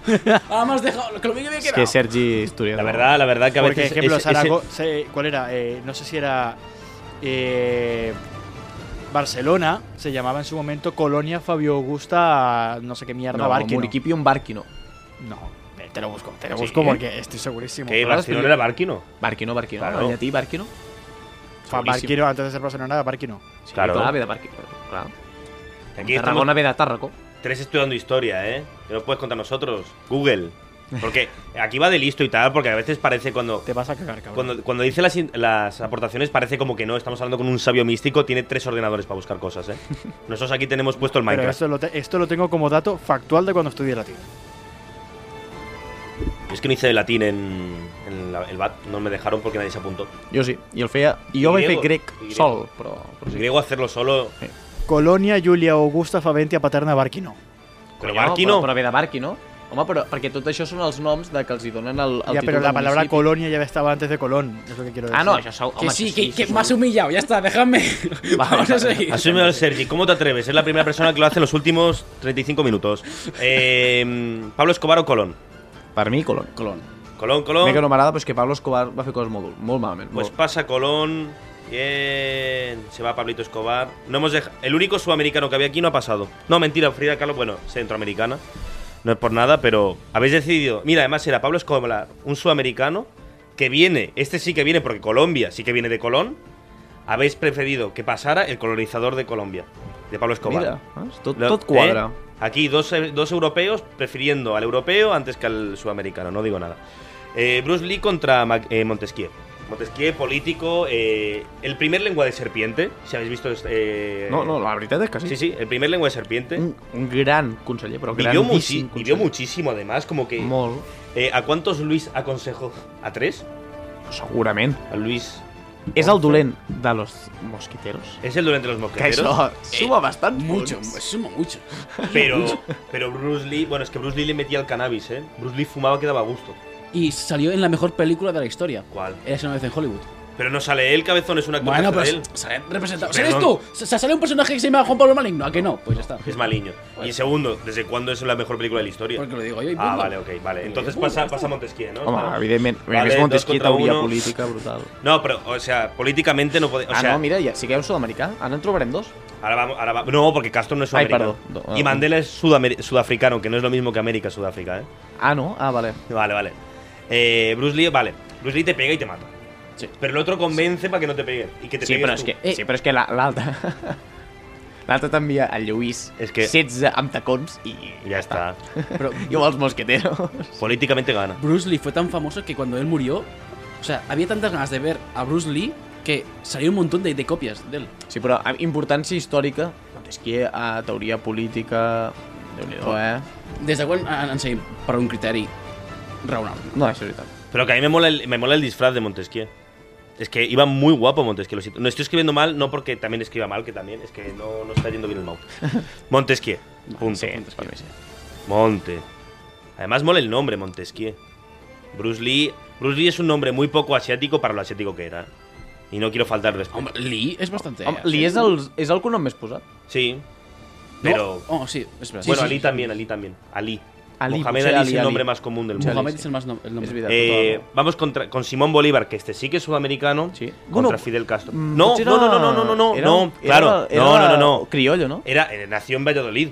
S3: Ahora me has dejado. Lo que me había
S2: És que
S3: quedado.
S2: Sergi
S1: La
S2: historiador.
S1: verdad, la verdad que a
S4: por
S1: veces...
S4: ejemplo,
S1: ese- ese-
S4: Zarago- se- ¿cuál era? Eh, no sé si era eh, Barcelona, se llamaba en su momento Colonia Fabio Augusta, no sé qué mierda,
S2: No,
S4: Barquino.
S2: Muriquipi un Barquino.
S4: No, eh, te lo busco, te lo
S1: Sí.
S4: busco porque estoy segurísimo.
S1: que Barcelona era Barquino.
S2: Barquino, Barquino.
S1: Claro.
S2: Claro. llatí, Barquino.
S4: Fa Barquino, antes de ser Barcelona, era Barquino.
S2: Sí,
S1: Claro.
S2: claro. clar, ve de Barquino. Clar.
S1: Aquí
S2: Tarragona
S1: estamos
S2: ve de Tàrraco.
S1: tres estudiando historia, ¿eh? Que no puedes contar nosotros. Google. Porque aquí va de listo y tal, porque a veces parece cuando.
S4: Te vas a cagar, cabrón.
S1: Cuando, cuando dice las, in- las aportaciones parece como que no, estamos hablando con un sabio místico, tiene tres ordenadores para buscar cosas, ¿eh? Nosotros aquí tenemos puesto el
S4: Pero
S1: Minecraft.
S4: esto lo, te- esto lo tengo como dato factual de cuando estudié latín.
S1: Es que no hice latín en, en la- el BAT, no me dejaron porque nadie se apuntó. Pues
S2: Jo sí, i el feia... I jo vaig fer
S1: Griego.
S2: grec
S1: I
S2: sol,
S1: griego.
S2: però... però
S1: Pues
S2: sí.
S1: griego hacerlo solo,
S4: Colonia, Julia, Augusta, Faventia, Paterna, Barqui, no.
S1: pero
S2: Coño,
S1: Barqui no.
S2: Però, però ve de Barqui, no? Home, però perquè tot això són els noms de que els hi donen el, el
S4: Ya,
S2: títol
S4: pero la
S2: del
S4: palabra
S2: municipi.
S4: colonia ya estaba antes de Colón, es lo que quiero decir.
S2: Ah, no, això segur.
S3: Que
S2: home,
S3: sí,
S2: això
S3: que, que
S2: segur.
S3: me has humillado, ya está, déjame. Vamos a seguir.
S1: Asúmelo, Sergi, ¿cómo te atreves? Es la primera persona que lo hace en los últimos 35 minutos. Eh, Pablo Escobar o Colón.
S2: Per mi, Colón.
S3: Colón.
S1: Colón,
S2: A mi que
S1: Colón.
S2: no m'agrada, però és que Pablo Escobar va fer coses molt, molt malament.
S1: Pues
S2: molt.
S1: pasa Colón. Bien. Se va Pablito Escobar. No hemos dej- El único sudamericano que había aquí no ha pasado. No, mentira, Frida Kahlo, bueno, centroamericana. No es por nada, pero habéis decidido. Mira, además era Pablo Escobar, un sudamericano que viene. Este sí que viene porque Colombia sí que viene de Colón. Habéis preferido que pasara el colonizador de Colombia, de Pablo Escobar.
S2: Mira, veus? tot,
S1: Lo-
S2: tot quadra.
S1: ¿eh? Aquí dos, dos europeos prefiriendo al europeo antes que al sudamericano, no digo nada. Eh, Bruce Lee contra Ma- eh, Montesquieu. Montesquieu, político, eh, el primer lengua de serpiente, si habéis visto... eh,
S2: No, no, la veritat és que sí.
S1: Sí, sí, el primer lengua de serpiente.
S2: Un, un gran conseller, però
S1: Vivió,
S2: grandíssim
S1: muchi-
S2: conseller.
S1: vivió muchísimo, además, como que...
S2: Molt,
S1: eh, ¿A cuántos Luis aconsejó? ¿A tres?
S2: segurament.
S1: A Luis...
S2: És el dolent de los mosquiteros.
S1: Es el durante los
S2: Que
S1: mosqueteros.
S2: això suma bastant
S3: Mucho,
S2: punts.
S3: suma mucho.
S1: Pero, pero Bruce Lee... Bueno, es que Bruce Lee le metía el cannabis, ¿eh? Bruce Lee fumaba que daba gusto.
S3: Y salió en la mejor película de la historia.
S1: ¿Cuál?
S3: Es una vez en Hollywood.
S1: Pero no sale él, cabezón, es una actor
S3: Bueno,
S1: que hace
S3: pero
S2: pues-
S1: de él.
S3: sale representado.
S1: Perdón.
S3: ¿Eres tú? Se se sale un personaje que se llama Juan Pablo Maligno. ¿A que no? Pues ya está.
S1: Es maliño. Y
S2: Pues-
S1: segundo, ¿desde cuándo es la mejor película de la historia?
S3: Porque lo digo yo. y
S1: Ah,
S3: punto.
S1: vale, ok, vale. Entonces
S3: Bueno,
S1: pasa,
S3: ya está.
S1: pasa Montesquieu, ¿no?
S2: Home,
S1: Claro.
S2: evidentment,
S1: Vale,
S2: a més
S1: dos
S2: Montesquieu
S1: contra
S2: tauria
S1: uno.
S2: política brutal.
S1: No, pero, o sea, políticamente no puede. O
S2: ah,
S1: sea,
S2: no, mira, ja, si que hi ha un sud-americà, ara en trobarem dos.
S1: ahora vamos. Ahora va- no, porque Castro no es
S2: Ay,
S1: sudamericano.
S2: perdón. No,
S1: y
S2: ah,
S1: Mandela es sudamer- sudafricano, que no es lo mismo que América, Sudáfrica, ¿eh?
S2: Ah, no? Ah, vale.
S1: Vale, vale. Eh, Bruce Lee, vale. Bruce Lee te pega y te mata.
S3: Sí.
S1: Pero el otro convence para que no te peguen. Y que te
S2: Sí,
S1: pegues
S2: però és
S1: tú.
S2: que,
S3: Eh.
S2: sí, però és que la- l'altra... l'altra t'envia el Lluís,
S1: És que-
S2: 16 amb tacons i...
S1: Y Ya está.
S3: Pero
S2: Jo els mosqueteros.
S1: Políticamente gana.
S3: Bruce Lee fue tan famoso que cuando él murió, o sea, había tantas ganas de ver a Bruce Lee que salió un montón de, de copias de él.
S2: Sí, però amb importància històrica, doncs Montesquieu, a eh, teoria política... déu nhi eh?
S3: Desde cuando han, han seguido para un criterio raonable.
S2: No, això és veritat.
S1: Pero que a mí me mola el, me mola el disfraz de Montesquieu. Es que iba muy guapo Montesquieu. lo siento. No estoy escribiendo mal, no porque también escriba mal, que también es que no, no está yendo bien el mouse. Montesquieu. Punto.
S2: Sí, per mi sí.
S1: Monte. Además mola el nombre Montesquieu. Bruce Lee. Bruce Lee es un nombre muy poco asiático para lo asiático que era. Y no quiero faltar respeto.
S3: Hombre, Lee es bastante. ¿eh?
S2: Home, li és el, és el cognom més posat.
S1: Sí.
S3: ¿No?
S1: Pero.
S3: Oh, sí, espera. sí,
S1: bueno,
S3: sí,
S1: Ali
S3: sí. pues
S1: también, Ali también. Ali.
S2: Ali,
S1: Mohamed
S2: potser
S1: Ali,
S2: Ali,
S1: es el
S2: Ali.
S1: nombre más común del
S2: Potser
S1: mundo.
S2: Ali.
S3: Mohamed es el más nom- el nombre.
S2: És veritat.
S1: Eh,
S2: tota la-
S1: vamos contra, con Simón Bolívar, que este sí que es sudamericano,
S2: Sí.
S1: contra
S2: Bueno,
S1: Fidel Castro.
S2: Mm,
S1: No,
S2: potser
S1: no, no,
S2: era-
S1: no, no, no, no, no,
S2: era-
S1: no,
S2: era-
S1: claro,
S2: era
S1: no, no, no, no.
S2: Criollo, no?
S1: Era, eh, nació en Valladolid.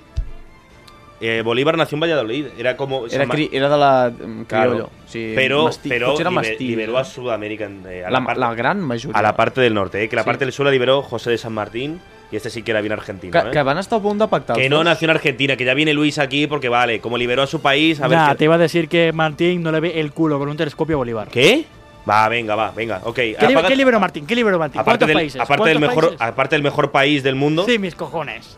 S1: Eh, Bolívar nació en Valladolid, era como...
S2: Era,
S1: San Ma-
S2: cri, era de la... mm, Criollo.
S1: Claro.
S2: O sigui,
S1: pero
S2: mastí,
S1: pero
S2: potser era
S1: liber-
S2: mastí.
S1: liberó a Sudamérica en- eh, a,
S2: la,
S1: la parte,
S2: la gran majoria.
S1: a la parte del norte, eh, que la
S2: Sí.
S1: parte del sur la liberó José de San Martín, y este sí que era bien argentino.
S2: Que,
S1: eh.
S2: que van estar a punt de pactar.
S1: Que
S2: els
S1: no
S2: dos.
S1: nació en Argentina, que ya viene Luis aquí porque vale, como liberó a su país, a ver...
S4: Nah,
S1: qué-
S4: te iba a decir que Martín no le ve el culo con un telescopio a Bolívar.
S1: ¿Qué? Va, venga, va, venga, ok.
S4: ¿Qué, li-
S1: apaga-
S4: qué liberó Martín? ¿Qué liberó Martín?
S1: aparte
S4: ¿Cuántos
S1: del,
S4: países?
S1: aparte del
S4: ¿Cuántos
S1: mejor,
S4: países?
S1: aparte del mejor país del mundo,
S4: Sí, mis cojones.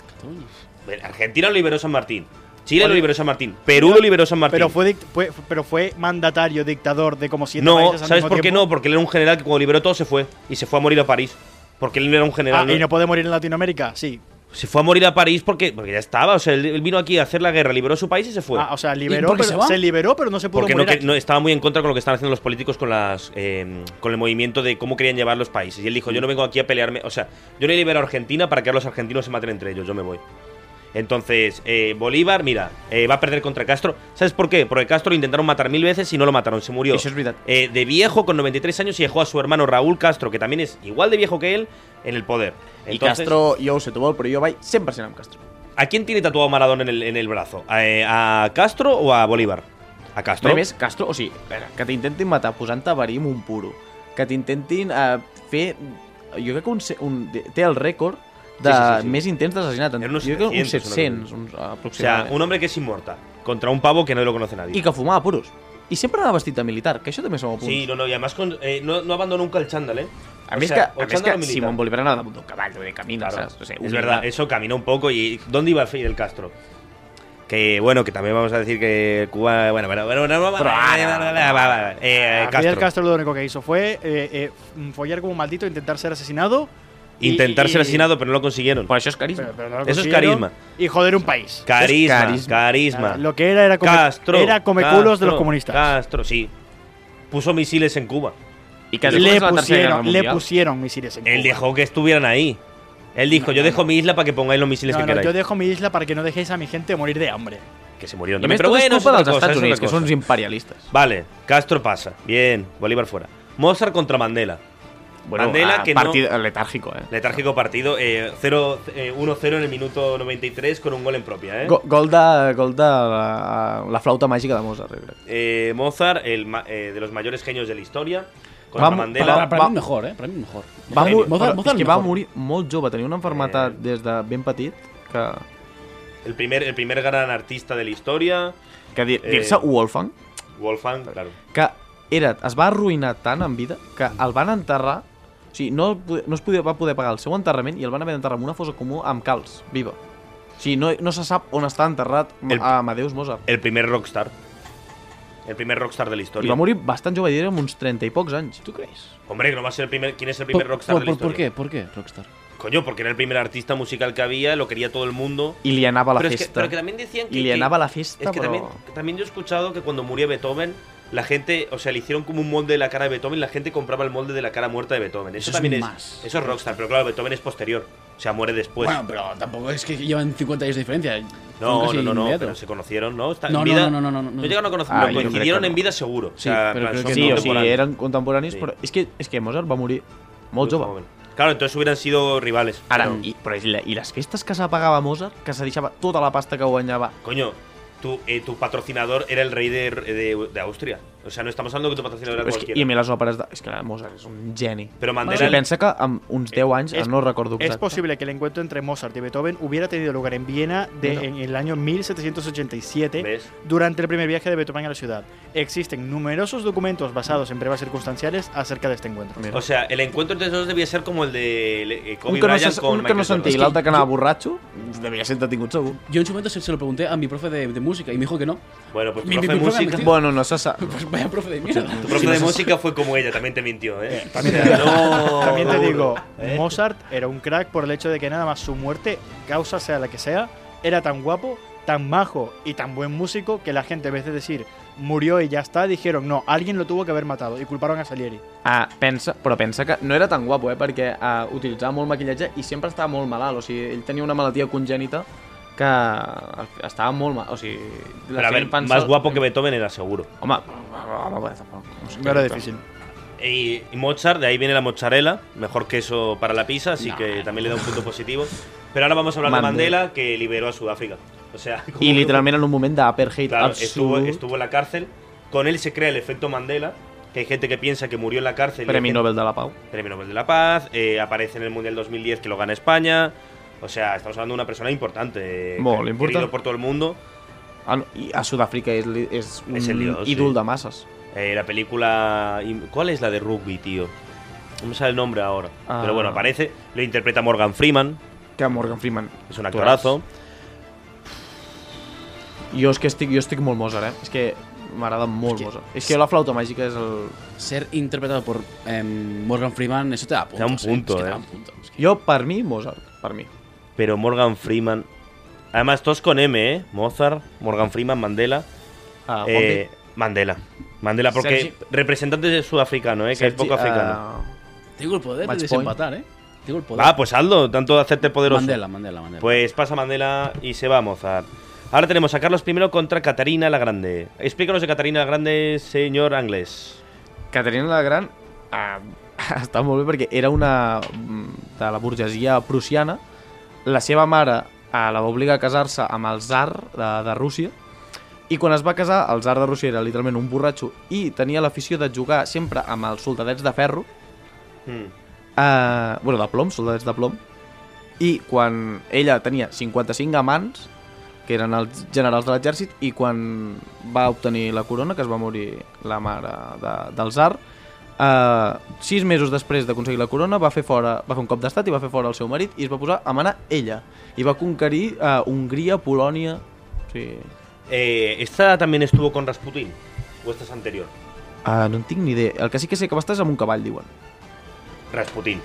S1: Argentina lo liberó San Martín, Chile lo
S4: Oye.
S1: liberó San Martín, Perú lo liberó San Martín.
S4: Pero fue, dict- fue- pero fue mandatario, dictador de como siete
S1: No,
S4: países al
S1: ¿sabes
S4: mismo
S1: por qué
S4: tiempo.
S1: no? Porque él era un general que cuando liberó todo se fue. Y se fue a morir a París. Porque él no era un general.
S4: Ah, ¿y
S1: ¿no?
S4: no puede morir en Latinoamérica? Sí.
S1: Se fue a morir a París porque, porque ya estaba. O sea, él, él vino aquí a hacer la guerra, liberó su país y se fue.
S4: Ah, o sea, liberó,
S3: por qué
S4: pero-
S3: se va?
S4: se, liberó, pero no se pudo
S1: porque no,
S4: morir.
S1: que-
S4: aquí.
S1: no- estaba muy en contra con lo que están haciendo los políticos con las eh, con el movimiento de cómo querían llevar los países. Y él dijo, yo no vengo aquí a pelearme. O sea, yo le libero a Argentina para que ahora los argentinos se maten entre ellos. Yo me voy. Entonces, eh, Bolívar, mira, eh, va a perder contra Castro. ¿Sabes por qué? Porque Castro lo intentaron matar mil veces y no lo mataron, se murió.
S2: Això és veritat.
S1: Eh, de viejo, con 93 años, y dejó a su hermano Raúl Castro, que también es igual de viejo que él, en el poder.
S2: I
S1: Entonces,
S2: Castro, jo ho sé, tu vol, però jo vaig 100% amb Castro.
S1: ¿A quién tiene tatuado Maradona en el, en el brazo? ¿A, eh, a Castro o a Bolívar? A Castro.
S2: A més, Castro, o sigui, a veure, que t'intentin matar posant-te verí amb un puro, que t'intentin eh, fer... Jo crec que un, se- un, té el rècord de
S1: Sí, sí, sí, sí.
S2: més intents d'assassinat.
S1: Eren uns
S2: Jo crec que uns
S1: 700,
S2: 700,
S1: una
S2: uns,
S1: o sea,
S2: aproximadament.
S1: un hombre que es inmortal contra un pavo que no lo conoce nadie.
S2: I que fumava puros. I sempre anava vestit de militar, que això també som a punt.
S1: Sí, no, no, y además con- eh, no, no abandonó nunca el chándal, ¿eh?
S2: A
S1: O
S2: més
S1: sea,
S2: que,
S1: o
S2: a més
S1: chándal
S2: que
S1: o militar.
S2: Simón Bolívar anava damunt d'un cavall de camina,
S1: Claro,
S2: saps? O sigui,
S1: es
S2: humilitat.
S1: verdad, eso caminó un poco y ¿dónde iba Fidel Castro? Que bueno, que también vamos a decir que Cuba, bueno, pero bueno, no, no,
S2: Pero,
S1: eh, eh,
S4: A Ah, Fidel
S1: Castro.
S4: Castro lo único que hizo fue eh, eh, follar como un maldito, intentar ser asesinado. y-
S1: Intentar ser
S4: y- Pues,
S1: asesinado, pero no lo consiguieron.
S2: Però això és carisma.
S4: pero- pero no lo
S1: Eso es
S4: consiguieron,
S1: carisma.
S4: Y joder un país.
S1: Carisma,
S2: es
S1: carisma.
S4: Nada, Lo que era era come,
S1: Castro.
S4: era come
S1: Castro,
S4: culos de los comunistas.
S1: Castro, sí. Puso misiles en Cuba.
S2: I que
S4: le,
S2: després de la Tercera Guerra
S4: pusieron, le
S2: Mundial-
S4: pusieron misiles en
S1: Él
S4: Cuba.
S1: dejó que estuvieran ahí. Él dijo, yo dejo mi isla para que pongáis los misiles
S4: No,
S1: que
S4: no,
S1: queráis.
S4: yo dejo mi isla para que no dejéis a mi gente morir de hambre.
S1: Que se murieron
S2: I a
S1: también.
S2: més,
S1: Pero
S2: tot
S1: bueno,
S2: és culpa
S1: es
S2: dels
S1: otra cosa,
S2: Estats
S1: es otra
S2: Units, que
S1: cosa.
S2: són uns imperialistes.
S1: Vale, Castro pasa. Bien, Bolívar fuera. Mozart contra Mandela. Mandela,
S2: ah,
S1: que no-
S2: partid- Letàrgico, eh?
S1: Letárgico partido, eh, 0, eh, 1-0 en el minuto 93 con un gol en propia. ¿eh?
S2: Go- Gol de, gol de la, la flauta màgica de Mozart, jo crec.
S1: Eh, Mozart, el ma- eh, de los mayores genios de la historia, contra
S2: Vamos,
S1: Mandela.
S3: Para, para, para
S2: va-
S3: mí mejor, ¿eh? Para mí mejor.
S2: Va
S1: Genio.
S2: mor...
S3: Mozart-
S2: però
S3: Mozart
S2: és que va
S3: mejor.
S2: morir molt jove, tenia una
S1: Eh.
S2: malaltia des de ben petit que,
S1: El, primer, el primer gran artista de la historia,
S2: que dir-
S1: Eh.
S2: dir-se Wolfgang,
S1: Wolfgang, claro.
S2: que era, es va arruïnar tant en vida que el van enterrar o sigui, no, po- no es podia, va poder pagar el seu enterrament i el van haver d'enterrar en una fosa comú amb calç, viva. O sigui, no, no se sap on està enterrat
S1: El-
S2: el... Amadeus Mozart.
S1: El primer rockstar. El primer rockstar de la
S2: I
S1: historia.
S2: va morir bastant jove, diria, amb uns 30 i pocs anys. Tu creus?
S1: Hombre, que no va a ser el primer. ¿Quién es el primer
S3: Por,
S1: rockstar
S3: por-
S1: de la
S3: por-
S1: historia?
S3: ¿por qué? ¿Por qué Rockstar?
S1: Coño, porque era el primer artista musical que había, lo quería todo el mundo.
S2: I li anava a la
S1: pero, es que,
S2: festa.
S1: pero que también decían que.
S2: I li
S1: que-
S2: anava a la festa,
S1: Es que
S2: però...
S1: también, también yo he escuchado que cuando murió Beethoven, la gente, o sea, le hicieron como un molde de la cara de Beethoven, la gente compraba el molde de la cara muerta de Beethoven. Eso,
S3: Eso es
S1: también es,
S3: más.
S1: Eso es Rockstar, pero claro, Beethoven es posterior. O sea, muere después.
S3: bueno, pero tampoco es que llevan 50 años de diferencia. Fueron
S1: Pues no,
S3: casi
S1: no, no, no,
S3: inmediato.
S1: pero se conocieron, ¿no? Está-
S3: No,
S1: en
S3: no,
S1: vida-
S3: no, no, no, no, no.
S1: llegaron a conocer,
S2: Ah,
S1: pero
S2: yo creo que
S1: coincidieron
S2: no.
S1: en vida seguro.
S3: Sí,
S1: o sea,
S3: pero
S1: en plan,
S3: creo
S1: son
S3: que
S2: Sí, o sigui,
S1: contemporáneos.
S2: eren contemporanis,
S1: Sí.
S2: però és que, és que Mozart va morir molt
S1: Muy
S2: jove.
S1: joven. Claro, entonces hubieran sido rivales.
S2: Ara,
S1: Pero,
S2: i, però i, la, i les festes que s'apagava Mozart, que se deixava tota la pasta que guanyava.
S1: coño, tu, eh, tu patrocinador era el rey de, de- de Austria. O sea, no estamos hablando que tu patrocinador era
S2: Però és que,
S1: cualquiera.
S2: I a mi les òperes de... És que Mozart és un geni.
S1: Pero
S2: O
S1: Mandela,
S2: sigui, pensa que amb uns 10 anys,
S4: Es-
S2: no recordo
S4: Es
S2: exacte.
S4: posible que el encuentro entre Mozart y Beethoven hubiera tenido lugar en Viena de-
S2: Mira.
S4: en el año 1787
S1: ¿ves?
S4: durante el primer viaje de Beethoven a la ciudad. Existen numerosos documentos basados en pruebas circunstanciales acerca de este encuentro.
S2: Mira.
S1: O sea, el encuentro entre esos dos debía ser como el de le- eh,
S2: un
S1: Kobe
S2: que no,
S1: Bryant
S2: se,
S1: con
S2: un que no
S1: Michael
S2: sentia i
S1: Jordan.
S2: l'altre que anava borratxo, devia ser detingut segur.
S3: Yo en su momento se, se lo pregunté a mi profe de, de música y me dijo que no.
S1: Bueno, pues tu
S3: Mi-
S1: profe
S3: mi
S1: de
S3: profe me
S1: música,
S3: mintió.
S2: Bueno, no se sap.
S3: Pues vaya profe de mierda.
S1: tu profe de música fue como ella, también te mintió, ¿eh? no,
S4: También te
S1: duro,
S4: digo,
S1: ¿eh?
S4: Mozart era un crack por el hecho de que nada más su muerte, causa sea la que sea, era tan guapo, tan majo y tan buen músico que la gente, en vez de decir murió y ya está, dijeron no, alguien lo tuvo que haber matado y culparon a Salieri.
S2: Ah, pensa, però pensa que no era tan guapo, eh? Perquè ah, utilitzava molt maquillatge i sempre estava molt malalt. O sigui, ell tenia una malaltia congènita que estava molt mal. O sigui,
S1: Pero
S2: la
S1: a
S2: gent
S1: ver,
S2: pensa-
S1: más guapo que Beethoven era seguro.
S2: Home, home, home, tampoc.
S4: No era difícil.
S1: Y y Mozart, de ahí viene la mozzarella, mejor queso para la pizza, así
S3: No.
S1: que también le da un punto positivo. Pero ahora vamos a hablar de
S2: Mandela.
S1: Mandela, que liberó a Sudáfrica. O sea, como-
S2: I literalment en un moment d'apartheid
S1: Claro, estuvo,
S2: absolut.
S1: estuvo en la cárcel. Con él se crea el efecto Mandela, que hay gente que piensa que murió en la cárcel. y hay
S2: Premi
S1: gente-
S2: Nobel de la Pau.
S1: Premio Nobel de la Paz, eh, aparece en el Mundial 2010 que lo gana España. O sea, estamos hablando de una persona importante. eh,
S2: Molt
S1: querido
S2: important.
S1: por todo el mundo.
S2: Ah, no, I a Sud-àfrica és, li- és un
S1: És el dios, sí.
S2: ídol de masses.
S1: Eh, la película. ¿Cuál es la de rugby, tío? No me sale el nombre ahora.
S2: Ah.
S1: Pero bueno, aparece. Lo interpreta Morgan Freeman,
S2: Que Morgan Freeman...
S1: es un actorazo.
S2: Jo és que estic, jo estic molt Mozart, eh? És que m'agrada molt
S3: que-
S2: Mozart. És que la flauta màgica és el...
S3: Ser interpretado por em, Morgan Freeman, eso te da puntos.
S1: un
S3: eh. Es
S1: punto,
S3: que te
S1: eh.
S3: da un punto. Es que-
S2: Jo, per mi, Mozart. Per mi.
S1: Pero Morgan Freeman. Además, todos con M, ¿eh? Mozart, Morgan Freeman, Mandela.
S2: Ah,
S1: eh, Mandela. Mandela, porque
S2: Sergi- ah.
S1: representantes de sudafricano, ¿eh? Que es poco africano.
S2: eh,
S3: Tengo el poder
S2: Match
S3: de
S2: point.
S3: desempatar, ¿eh? Tengo el poder.
S1: Ah, pues Aldo, tanto de hacerte poderoso.
S3: Mandela, Mandela, Mandela.
S1: Pues pasa Mandela y se va a Mozart. Ahora tenemos a Carlos I contra Catarina la Grande. Explícanos de Catarina la Grande, señor Anglés.
S2: Caterina la Gran ah, està molt bé perquè era una mm, de la burgesia prussiana. La seva mare ah, la va obligar a casar-se amb el zar de, de Rússia i quan es va casar, el zar de Rússia era literalment un borratxo i tenia l'afició de jugar sempre amb els soldadets de ferro eh, bueno, de plom, soldadets de plom, i quan ella tenia 55 amants, que eren els generals de l'exèrcit, i quan va obtenir la corona, que es va morir la mare de, del zar, eh, sis mesos després d'aconseguir la corona va fer, fora, va fer un cop d'estat i va fer fora el seu marit i es va posar a manar ella. I va conquerir eh, Hongria, Polònia... Sí.
S1: Eh, ¿Esta también estuvo con Rasputin? ¿O esta es anterior?
S2: Ah, no en tinc ni idea. El que sí que sé que va estar és amb un cavall, diuen.
S1: Rasputin.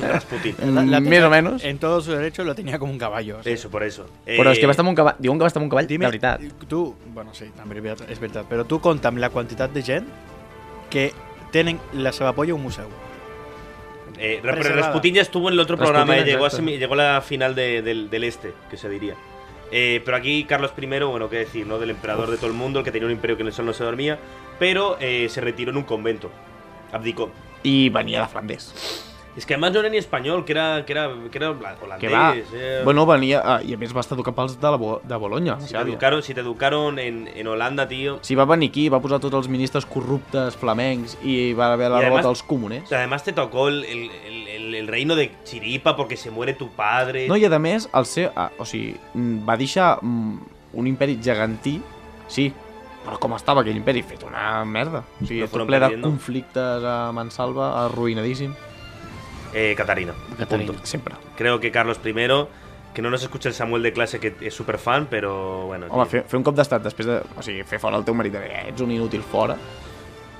S1: Rasputin.
S2: Mm, més o menys.
S4: En todo su derecho lo tenía como un caballo. o sea.
S1: Eso, por eso.
S2: Però és que va
S1: Eh,
S2: estar amb un cavall... Diuen que va estar amb un cavall,
S4: Dime,
S2: de veritat.
S4: Tú, bueno, sí, también es verdad- es verdad, pero tú contame la cantidad de gente que tienen la cebapollo un museo.
S1: eh, pero
S4: Preservada.
S1: Rasputin ya estuvo en el otro
S2: Rasputin,
S1: programa, eh, llegó, a
S2: exacto.
S1: semi- llegó a la final de- del, del este, que se diría. Eh, pero aquí Carlos I, bueno, qué decir, ¿no? Del emperador de todo el mundo, el que tenía un imperio que en el sol no se dormía, pero eh, se retiró en un convento. Abdicó.
S2: I venia de Flanders.
S1: Es que además no era ni español, que era, que era, que era holandés.
S2: Que va.
S1: eh.
S2: Bueno, venia... Ah, I a més va estar educat pels de, la Bo de Bologna.
S1: si,
S2: Sí,
S1: te educaron, si te educaron en, en Holanda, tío.
S2: Sí, va venir aquí, va posar tots els ministres corruptes flamencs i va haver
S1: I,
S2: la
S1: además,
S2: revolta dels comunes.
S1: Además te tocó el, el- el- el- el reino de Chiripa porque se muere tu padre.
S2: No, i a més, el seu, ah, o sigui, mm, va deixar mm, un imperi gegantí, sí, però com estava aquell imperi? Fet una merda. O sigui,
S1: Lo
S2: tot
S1: fueron
S2: ple de
S1: perdiendo.
S2: conflictes a Mansalva, arruïnadíssim.
S1: Eh, Catarina.
S3: Catarina.
S1: Punto.
S2: Sempre.
S1: Creo que Carlos I, que no nos escucha el Samuel de clase, que es súper fan, pero bueno.
S2: Home,
S1: tío.
S2: fer, fer un cop d'estat després de... O sigui, fer fora el teu marit, de, eh, ets un inútil fora.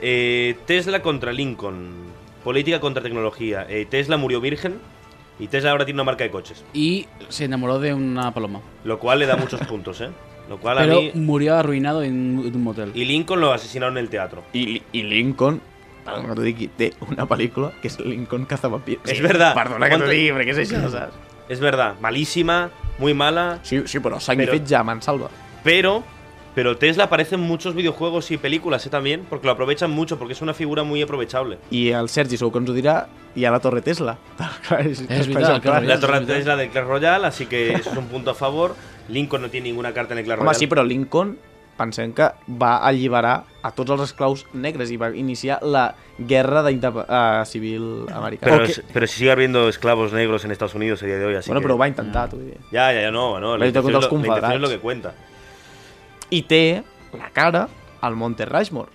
S1: Eh, Tesla contra Lincoln. Política contra tecnología. Eh, Tesla murió virgen y Tesla ahora tiene una marca de coches.
S3: Y se enamoró de una paloma.
S1: Lo cual le da muchos puntos, ¿eh? Lo cual a
S3: Pero
S1: mí.
S3: murió arruinado en un en un motel.
S1: Y Lincoln lo asesinaron en el teatro.
S2: I, Li- i Lincoln, perdona que t'ho digui, té una pel·lícula que és Lincoln Cazavampires.
S1: És verdad.
S2: Perdona que t'ho
S1: Quanta-
S2: digui, perquè és això, saps?
S1: Es verdad, malísima, muy mala.
S2: Sí, sí, però sacrifetja a Mansalva.
S1: Pero, pero Tesla aparece en muchos videojuegos y películas ¿eh? también, porque lo aprovechan mucho, porque es una figura muy aprovechable.
S2: I el Sergi segur que ens ho dirà, hi ha la Torre Tesla. és,
S3: veritat, clar.
S1: La
S3: Sí,
S1: torre
S3: sí, sí.
S1: Tesla del Clash Royale, así que eso es un punto a favor. Lincoln no tiene ninguna carta en el Clash
S2: Home,
S1: Royale.
S2: sí, però Lincoln, pensem que va alliberar a tots els esclaus negres i va iniciar la guerra d'indep- eh, civil americana.
S1: Pero, si- pero si sigue habiendo esclavos negros en Estados Unidos a día de hoy, así
S2: bueno,
S1: que-
S2: però ho va intentar, t'ho diré.
S1: Ya, ya, ya, no, no.
S2: Pero
S1: La
S2: te
S1: intención,
S2: cuento
S1: es
S2: los
S1: lo, la intención es lo
S2: compadres.
S1: que cuenta.
S2: I té la cara al Monte Rushmore.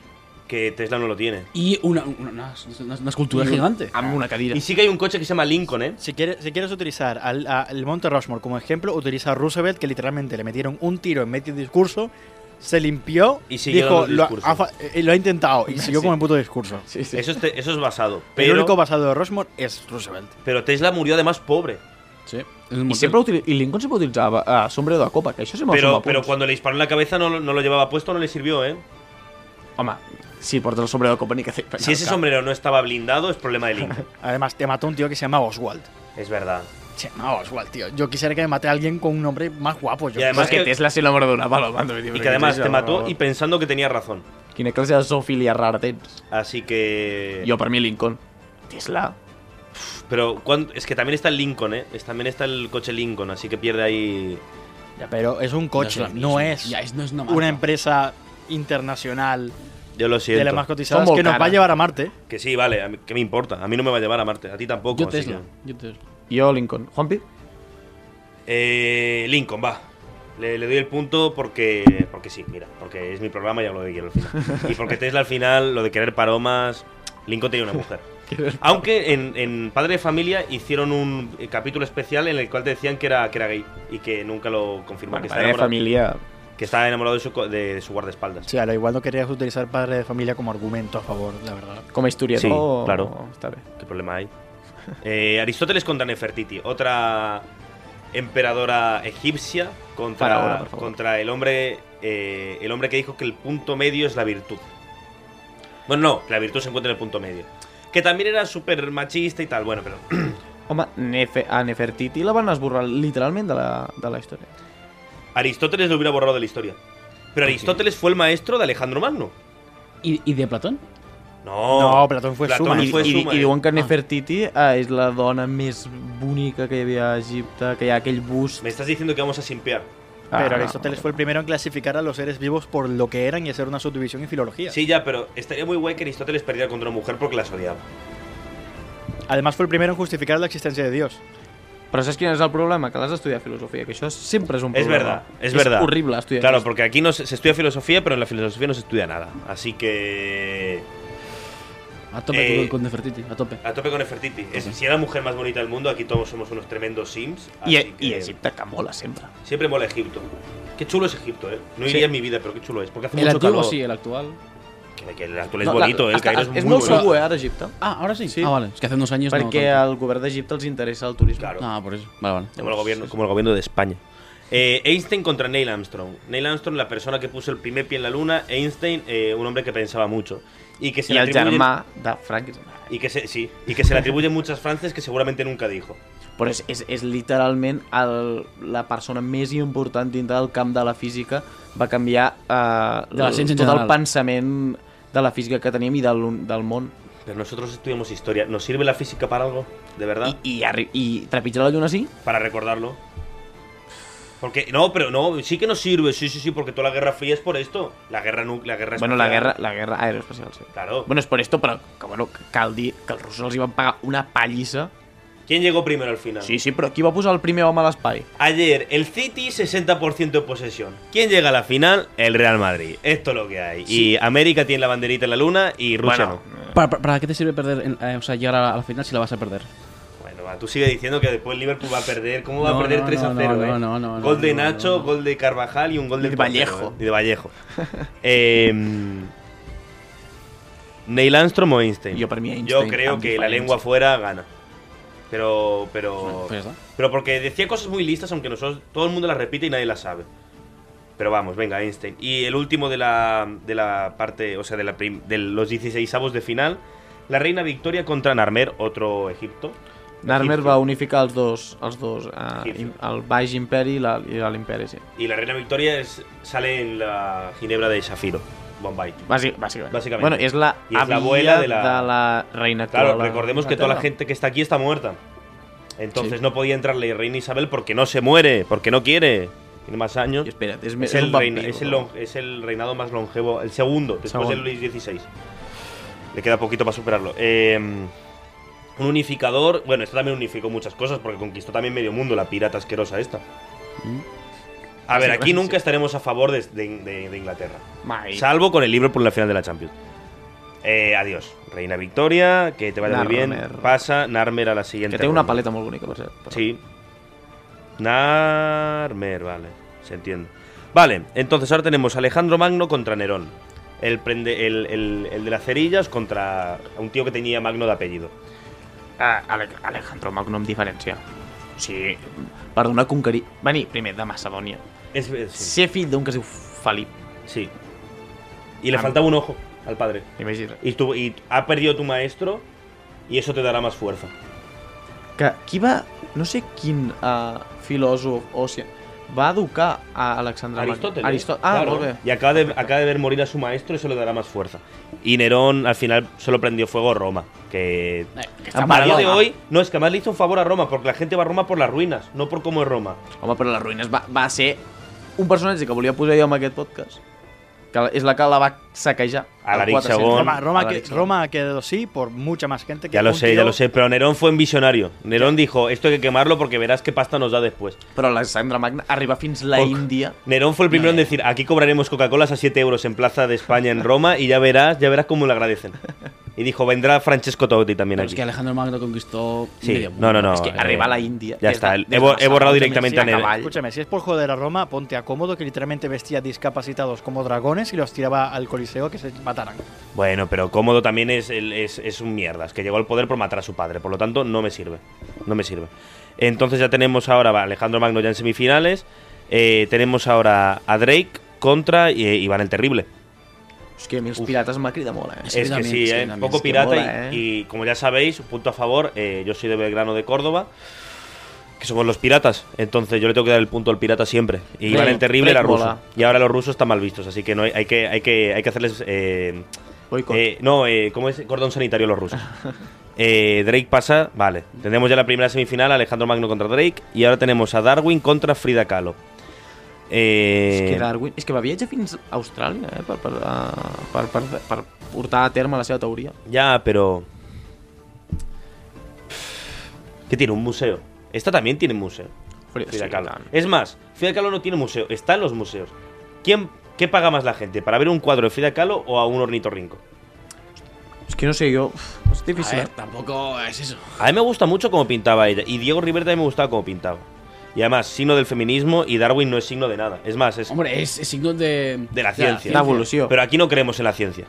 S1: Que Tesla no lo tiene.
S3: Y una, una, una- una- una escultura
S2: I un-
S3: gigante.
S2: Amb una cadira.
S1: Y sí que hay un coche que se llama Lincoln, ¿eh?
S4: Si quieres, si quieres utilizar al, a- al Monte Rushmore como ejemplo, utiliza a Roosevelt, que literalmente le metieron un tiro en medio del discurso, se limpió,
S1: Y siguió
S4: dijo,
S1: dando el
S4: lo ha,
S1: discurso".
S4: ha fa- eh, lo ha intentado y siguió con el puto discurso.
S2: Sí, sí.
S1: Eso, es te- eso es basado.
S4: Pero, el
S1: Pero,
S4: único basado de Rushmore es Roosevelt.
S1: pero Tesla murió además pobre.
S3: Sí, en un
S2: I,
S3: motel.
S2: sempre utili- I Lincoln sempre utilitzava uh, sombrero de copa, que això sempre
S1: Pero,
S2: suma
S1: pero
S2: punts.
S1: cuando le disparó en la cabeza no, lo- no lo llevaba puesto, no le sirvió, ¿eh?
S2: Home, si portes el sombrero de copa ni que fer...
S1: Si ese sombrero no estaba blindado, es problema de Lincoln.
S4: Además, te mató un tío que se llama Oswald.
S1: es verdad.
S4: Se llama Oswald, tío. Yo quisiera que me mate a alguien con un nombre más guapo. Yo
S1: Y además
S2: Más que
S1: que-
S2: Tesla se enamoró d'una paloma. t'ho vull dir,
S1: Y que
S2: perquè
S1: además
S2: Tesla,
S1: te
S2: per
S1: mató
S2: favor.
S1: y pensando que tenía razón.
S2: Quina classe de zoofilia rara tens?
S1: Así que.
S2: Jo, per mi, Lincoln. Tesla.
S1: Pero cuán- es que también está el Lincoln, ¿eh? Es- también está el coche Lincoln, así que pierde ahí.
S4: Ya, pero es un
S3: No
S4: coche,
S3: la
S4: no
S3: misma.
S4: es,
S3: Ya, es- no es una marca.
S4: una empresa internacional
S1: Yo lo
S4: de
S1: siento.
S4: las más cotizadas
S2: Son
S4: que nos va a
S2: volcanas.
S4: llevar a Marte.
S1: Que sí, vale, a mí- ¿qué me importa? A mí no me va a llevar a Marte, a ti tampoco.
S3: Yo
S1: así
S3: Tesla.
S1: que-
S3: Yo Tesla.
S2: Jo, Lincoln. Juanpi?
S1: Eh, Lincoln, va. Le, le doy el punto porque porque sí, mira, porque es mi programa y hablo de quiero al final. Y porque Tesla al final, lo de querer palomas, Lincoln tenía una mujer. Aunque en, en Padre de Familia hicieron un eh, capítulo especial en el cual te decían que era, que era gay y que nunca lo confirmaron.
S2: Bueno,
S1: que,
S2: padre de
S1: enamorado-
S2: família...
S1: que estaba enamorado de su, co- de su guardaespaldas.
S4: Sí, a lo igual no querías utilizar padre de familia como argumento a favor, la verdad.
S2: Com a historiador...
S1: Sí, claro.
S2: Està bé.
S1: ¿Qué problema hay? Eh, Aristóteles contra Nefertiti, otra emperadora egipcia contra,
S2: Faraona, por favor.
S1: contra el hombre eh, el hombre que dijo que el punto medio es la virtud. Bueno, no, la virtud se encuentra en el punto medio. Que también era súper machista y tal, bueno, pero...
S2: Home, Nefe, a Nefertiti la van esborrar literalment de la, de la història.
S1: Aristóteles lo hubiera borrado de la historia. Pero Aristóteles fue el maestro de Alejandro Magno.
S3: ¿Y, y de Platón?
S1: No,
S4: No, Platón fue suma.
S2: I,
S4: Fue
S2: i,
S1: suma,
S2: i
S1: eh.
S2: diuen que Nefertiti eh, és la dona més bonica que hi havia a Egipte, que hi ha aquell bust...
S1: Me estás diciendo que vamos a simpear.
S4: Pero
S2: Ah,
S4: Aristóteles fue el primero en clasificar a los seres vivos por lo que eran y hacer una subdivisión en filología.
S1: Sí, ya, pero estaría muy guay que Aristóteles perdiera contra una mujer porque las odiaba.
S4: Además fue el primero en justificar la existencia de Dios.
S2: Però saps quin és el problema? Que l'has d'estudiar filosofia, que això sempre és un
S1: Es
S2: problema.
S1: verdad, es verdad.
S2: És horrible estudiar
S1: Claro,
S2: filosofia.
S1: porque aquí no se, se estudia filosofía, pero en la filosofía no se estudia nada. Así que.
S3: A tope
S1: Eh,
S3: con, con Nefertiti, a tope.
S1: A tope con Nefertiti. Es- si era la mujer más bonita del mundo, aquí todos somos unos tremendos sims.
S2: I, e-
S1: así que-
S2: I Egipte que mola sempre.
S1: Siempre mola Egipto. Qué chulo es Egipto, ¿eh? No iría en mi vida, pero qué chulo es. Porque hace
S3: El
S1: mucho
S3: antiguo
S1: calor.
S3: sí, el actual.
S1: Que, que el actual es
S2: No, la-
S1: bonito, eh, el
S2: hasta-
S1: Cairo es,
S2: és
S1: muy
S2: molt
S1: bonito.
S2: segur, eh, ara, Egipte.
S3: Ah, ahora sí.
S2: Sí.
S3: Ah, vale. Es que hace unos años no
S2: Perquè
S3: tanto.
S2: al govern d'Egipte els interessa el turisme.
S1: Claro.
S3: Ah, por eso. Vale, vale.
S1: Como el gobierno, como el gobierno de España. Eh, Einstein contra Neil Armstrong. Neil Armstrong, la persona que puso el primer pie en la luna. Einstein, eh, un hombre que pensaba mucho. Y que se
S2: I
S1: le
S2: el
S1: atribuyen-
S2: germà de Frankenstein.
S1: Y que se, sí, y que se le atribuyen muchas frases que seguramente nunca dijo.
S2: Però és, és, és literalment el, la persona més important dintre del camp de la física. Va canviar eh,
S3: De la
S2: el-
S3: ciència en
S2: tot el
S3: general.
S2: pensament de la física que tenim i del, del món.
S1: Pero nosotros estudiamos historia. ¿Nos sirve la física para algo? ¿De verdad?
S2: I, i, arri- i trepitjar la lluna sí?
S1: Para recordarlo. Porque, no, pero no, sí que nos sirve, sí, sí, sí, porque toda la Guerra Fría es por esto. La guerra nu- la guerra
S2: Bueno, la
S1: espacial.
S2: guerra, la guerra aeroespacial, sí.
S1: Claro.
S2: Bueno, és per esto, però que, bueno, que cal dir que els russos els hi van pagar una pallissa.
S1: ¿Quién llegó primero al final?
S2: Sí, sí, però qui va posar el primer home a l'espai?
S1: Ayer, el City 60% de posesión. ¿Quién llega a la final? El Real Madrid. Esto es lo que hay. Y América tiene la banderita en la luna y Rusia
S2: Bueno,
S1: no.
S3: ¿Para, para, para qué te sirve perder, en- eh, o sea, llegar a la, a la final si la vas a perder?
S1: Bueno, va, tú sigue diciendo que después Liverpool va a perder. ¿Cómo va
S3: No,
S1: a perder
S3: no,
S1: 3 a
S3: no,
S1: 0?
S3: no,
S1: eh?
S3: no, no, no,
S1: gol de
S3: no,
S1: Nacho,
S3: no, no.
S1: gol de Carvajal y un gol del
S2: de
S1: portero,
S2: Vallejo.
S1: eh. Y de Vallejo. Eh, Neil Armstrong o Einstein.
S2: Jo per mi Einstein.
S1: Yo creo
S2: amb
S1: que la
S2: diferència.
S1: lengua fuera gana. Pero, pero,
S3: Bueno, pues ya está.
S1: pero porque decía cosas muy listas, aunque nosotros todo el mundo las repite y nadie las sabe. Pero vamos, venga, Einstein. Y el último de la, de la parte, o sea, de, la prim- de los 16 avos de final, la reina Victoria contra Narmer, otro Egipto.
S2: Narmer
S1: Egipto.
S2: va unificar els dos, els dos eh,
S1: Egipcio.
S2: im- el Baix Imperi i la- i la- l'Imperi, sí.
S1: Y la reina Victoria es- sale en la ginebra de Shafiro, Bombay.
S2: Bàsic, bàsicament.
S1: Bàsicament.
S2: Bueno, és la
S1: I és
S2: àvia
S1: l'abuela de la-
S2: de la reina actual.
S1: Claro,
S2: la-
S1: recordemos que toda la
S2: Inglaterra.
S1: gente que está aquí está muerta. Entonces no podía entrar la reina Isabel porque no se muere, porque no quiere. Tiene más años.
S2: I espera't, és, més-
S1: Es
S2: és
S1: el,
S2: un
S1: reina-
S2: vampiro.
S1: es el lon- es el reinado más longevo, el segundo, después
S2: Segundo.
S1: de Luis XVI. Le queda poquito para superarlo. Eh, un unificador, bueno, esto también unificó muchas cosas porque conquistó también medio mundo, la pirata asquerosa esta. A ver,
S2: Mm. Sí,
S1: aquí
S2: bueno,
S1: nunca
S2: sí.
S1: estaremos a favor de, de- de- de Inglaterra.
S2: Mai.
S1: Salvo con el Liverpool en la final de la Champions. Eh, adiós. Reina Victoria, que te vaya muy bien.
S2: Narmer.
S1: Pasa Narmer a la siguiente.
S2: Que té una
S1: ronda.
S2: paleta molt bonica, per cert. Però...
S1: Sí. Narmer, vale, se entiende. Vale, entonces ahora tenemos Alejandro Magno contra Nerón. El, prende- el, el- el de las cerillas contra un tío que tenía Magno de apellido.
S2: Ah, Ale- Alejandro Magno amb diferència. Sí, perdona, conquerir... Venir primer de Macedònia.
S1: Es, es- sí.
S2: Ser fill d'un que es diu Felip,
S1: sí. Y
S2: Ah,
S1: le faltaba un ojo al padre.
S2: imagina't.
S1: Y, tu- y ha perdido tu maestro y eso te dará más fuerza.
S2: Que qui va... No sé quin uh, filòsof o si... Va educar a Alexandre Magno.
S1: Aristóteles.
S2: Aristó- Ah,
S1: Claro.
S2: molt bé.
S1: Y acaba de, acaba de ver morir a su maestro y eso le dará más fuerza. Y Nerón al final solo prendió fuego Roma, que
S3: Eh, que
S2: está
S1: A partir
S2: mal.
S1: de hoy, no, es que además le hizo un favor a Roma, porque la gente va a Roma por las ruinas, no por cómo es Roma.
S2: Home, però les ruïnes va, va ser un personatge que volia posar jo en aquest podcast. Que és la que la va saquejar.
S1: Alaric
S2: El 400.
S1: II.
S4: Roma, Roma, que,
S2: Alaric II.
S4: Roma ha quedado sí por mucha más gente que
S1: Ya lo
S4: un
S1: sé,
S4: tío-
S1: ya lo sé, pero Nerón fue un visionario. Nerón dijo, esto hay que quemarlo porque verás qué pasta nos da después.
S2: Però Alexandre Magna arriba fins la
S1: Poc.
S2: Índia.
S1: Nerón fue el primero en decir, aquí cobraremos Coca-Colas a 7 euros en Plaza de España en Roma y ya verás, ya verás cómo le agradecen. Y dijo, vendrá Francesco Totti también
S3: Pero es
S1: aquí.
S3: que Alejandro Magno conquistó.
S1: Sí,
S3: medio mundo.
S1: no, no, no.
S2: és que
S1: eh,
S2: arriba a la Índia.
S1: Ya
S2: des
S1: está,
S2: de-
S1: el-
S2: des
S1: he,
S2: de
S1: bo- he
S2: Barcelona,
S1: borrado
S2: sí,
S1: directamente
S2: a
S1: a Nerón.
S2: cavall.
S4: Escúchame, si es por joder a Roma, ponte a cómodo que literalmente vestía discapacitados como dragones y los tiraba al coliseo que se mataran.
S1: Bueno, pero cómodo también es, el- es, es un mierdas, que llegó al poder por matar a su padre. Por lo tanto, no me sirve. No me sirve. Entonces ya tenemos ahora va, Alejandro Magno ya en semifinales. eh, tenemos ahora a Drake contra eh, Iván el Terrible.
S2: És que a mi els pirates m'ha cridat molt, eh?
S3: Sí,
S1: es que
S3: también,
S1: sí,
S3: sí,
S1: eh,
S3: también,
S1: poco
S3: es que
S1: pirata. y-
S2: mola, eh.
S1: y, como ya sabéis, punto a favor, eh, yo soy de Belgrano de Córdoba. Que somos los piratas, entonces yo le tengo que dar el punto al pirata siempre. Y
S2: Drake-
S1: Iván el Terrible
S2: Drake
S1: era ruso.
S2: mola.
S1: Y ahora los rusos están mal vistos, así que no hay, hay que, hay que, hay que hacerles eh,
S2: Boicot.
S1: Eh, no, eh, ¿cómo es? Cordón sanitario los rusos. Eh, Drake pasa, vale. Tenemos ya la primera semifinal, Alejandro Magno contra Drake. Y ahora tenemos a Darwin contra Frida Kahlo. Eh,
S2: És que Darwin... És que va viatjar fins a Austràlia, eh? Per, per, eh, per, per, per portar a terme la seva teoria.
S1: Ya, pero. ¿Qué tiene? ¿Un museo? Esta también tiene museo.
S2: Frida
S1: Frida Kahlo.
S2: Kahlo.
S1: Es más, Frida Kahlo no tiene museo, está en los museos. ¿Quién, ¿Qué paga más la gente? ¿Para ver un cuadro de Frida Kahlo o a un ornitorrinco?
S2: Es que no sé yo. uf, Es
S3: A
S2: difícil.
S3: ver,
S2: ¿eh?
S3: tampoco es eso.
S1: A mí me gusta mucho cómo pintaba ella. Y Diego Rivera también me gustaba cómo pintaba. Y además, signo del feminismo y Darwin no es signo de nada. Es más, es.
S3: Hombre, es, es signo de.
S1: De la ciencia.
S2: La evolución.
S1: Pero aquí no creemos en la ciencia.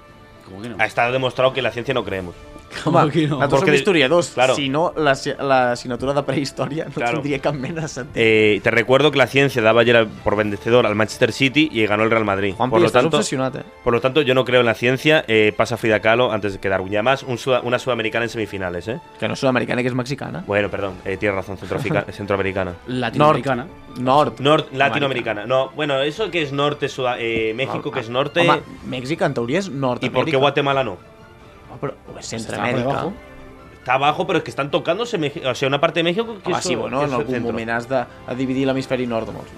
S3: ¿Cómo que no?
S1: Ha estado demostrado que en la ciencia no creemos.
S3: ¿Cómo que no?
S2: Nosaltres
S1: Porque-
S2: som historiadors.
S1: claro.
S2: Si no, la, si- la assignatura de prehistòria no
S1: Claro.
S2: tindria cap mena de sentit.
S1: Eh, te recuerdo que la ciencia daba ayer al- por vencedor al Manchester City y ganó el Real Madrid.
S2: Juanpi,
S1: por lo
S2: estàs
S1: tanto,
S2: obsessionat, eh?
S1: por lo tanto, yo no creo en la ciencia. eh, pasa Frida Kahlo antes que Darwin. Y además, un suda- una sudamericana en semifinales, ¿eh?
S2: Que no és sud-americana, que és mexicana.
S1: Bueno, perdón, eh, tienes razón, centroafrica- centroamericana.
S3: Latinoamericana.
S2: Nord.
S1: Nor- latinoamericana. No, bueno, eso que es norte, Suda- eh, México que es norte.
S2: Home, Mèxic en teoria és
S1: ¿Y
S2: nord-amèrica.
S1: por qué Guatemala no?
S2: Oh, però oh, és
S3: Está por
S2: Centroamèrica.
S3: debajo.
S1: Está abajo, pero es que están tocándose México. O sea, una parte de México que
S2: Home,
S1: es
S2: Ah, sí, bueno,
S1: que
S2: en
S1: es
S2: algun
S1: centro.
S2: moment has de a dividir l'hemisferi nord amb els...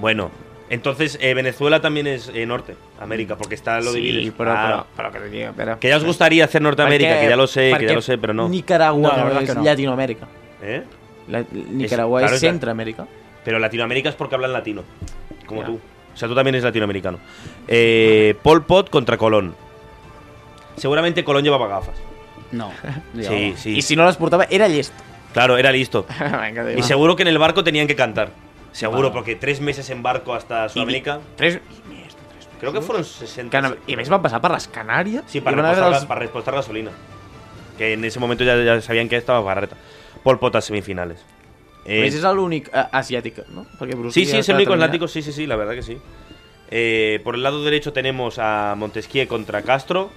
S1: Bueno, entonces eh, Venezuela también es eh, norte, América, porque está lo dividido. Ah,
S2: Sí, però, però, però que diria, espera.
S1: Que ya os gustaría hacer Norteamérica, que ya lo sé, que ya lo sé, pero no.
S2: Nicaragua
S4: No, la
S2: no,
S4: verdad
S2: és
S4: que no.
S2: Llatinoamèrica.
S1: ¿Eh?
S2: La, Nicaragua
S1: claro, és
S2: és,
S1: la-
S2: Centroamèrica.
S1: Pero Latinoamérica es porque hablan latino, como
S2: Ya.
S1: tú. O sea, tú también eres latinoamericano. Eh, Pol Pot contra Colón. Seguramente Colón llevaba gafas.
S3: No.
S1: Sí, sí.
S2: I si no les portava, era llest.
S1: Claro, era listo.
S2: Venga,
S1: Y seguro que en el barco tenían que cantar. Seguro, porque tres meses en barco hasta Sudamérica.
S2: Tres... i més de tres
S1: Creo que
S2: mesos.
S1: fueron 60.
S2: Que, no- I a més van passar per les Canàries.
S1: Sí,
S2: i
S1: para
S2: van a
S1: repostar,
S2: veure
S1: ga- para repostar gasolina. Que en ese momento ya, ya sabían que estaba barreta. Pol Pot a semifinales.
S2: A
S1: Eh,
S2: més, és l'únic eh, asiàtic, no? Perquè Bruce
S1: sí,
S2: Lee
S1: sí, es
S2: està
S1: el único
S2: determinat.
S1: atlántico, sí, sí, sí, la verdad que sí. Eh, por el lado derecho tenemos a Montesquieu contra Castro.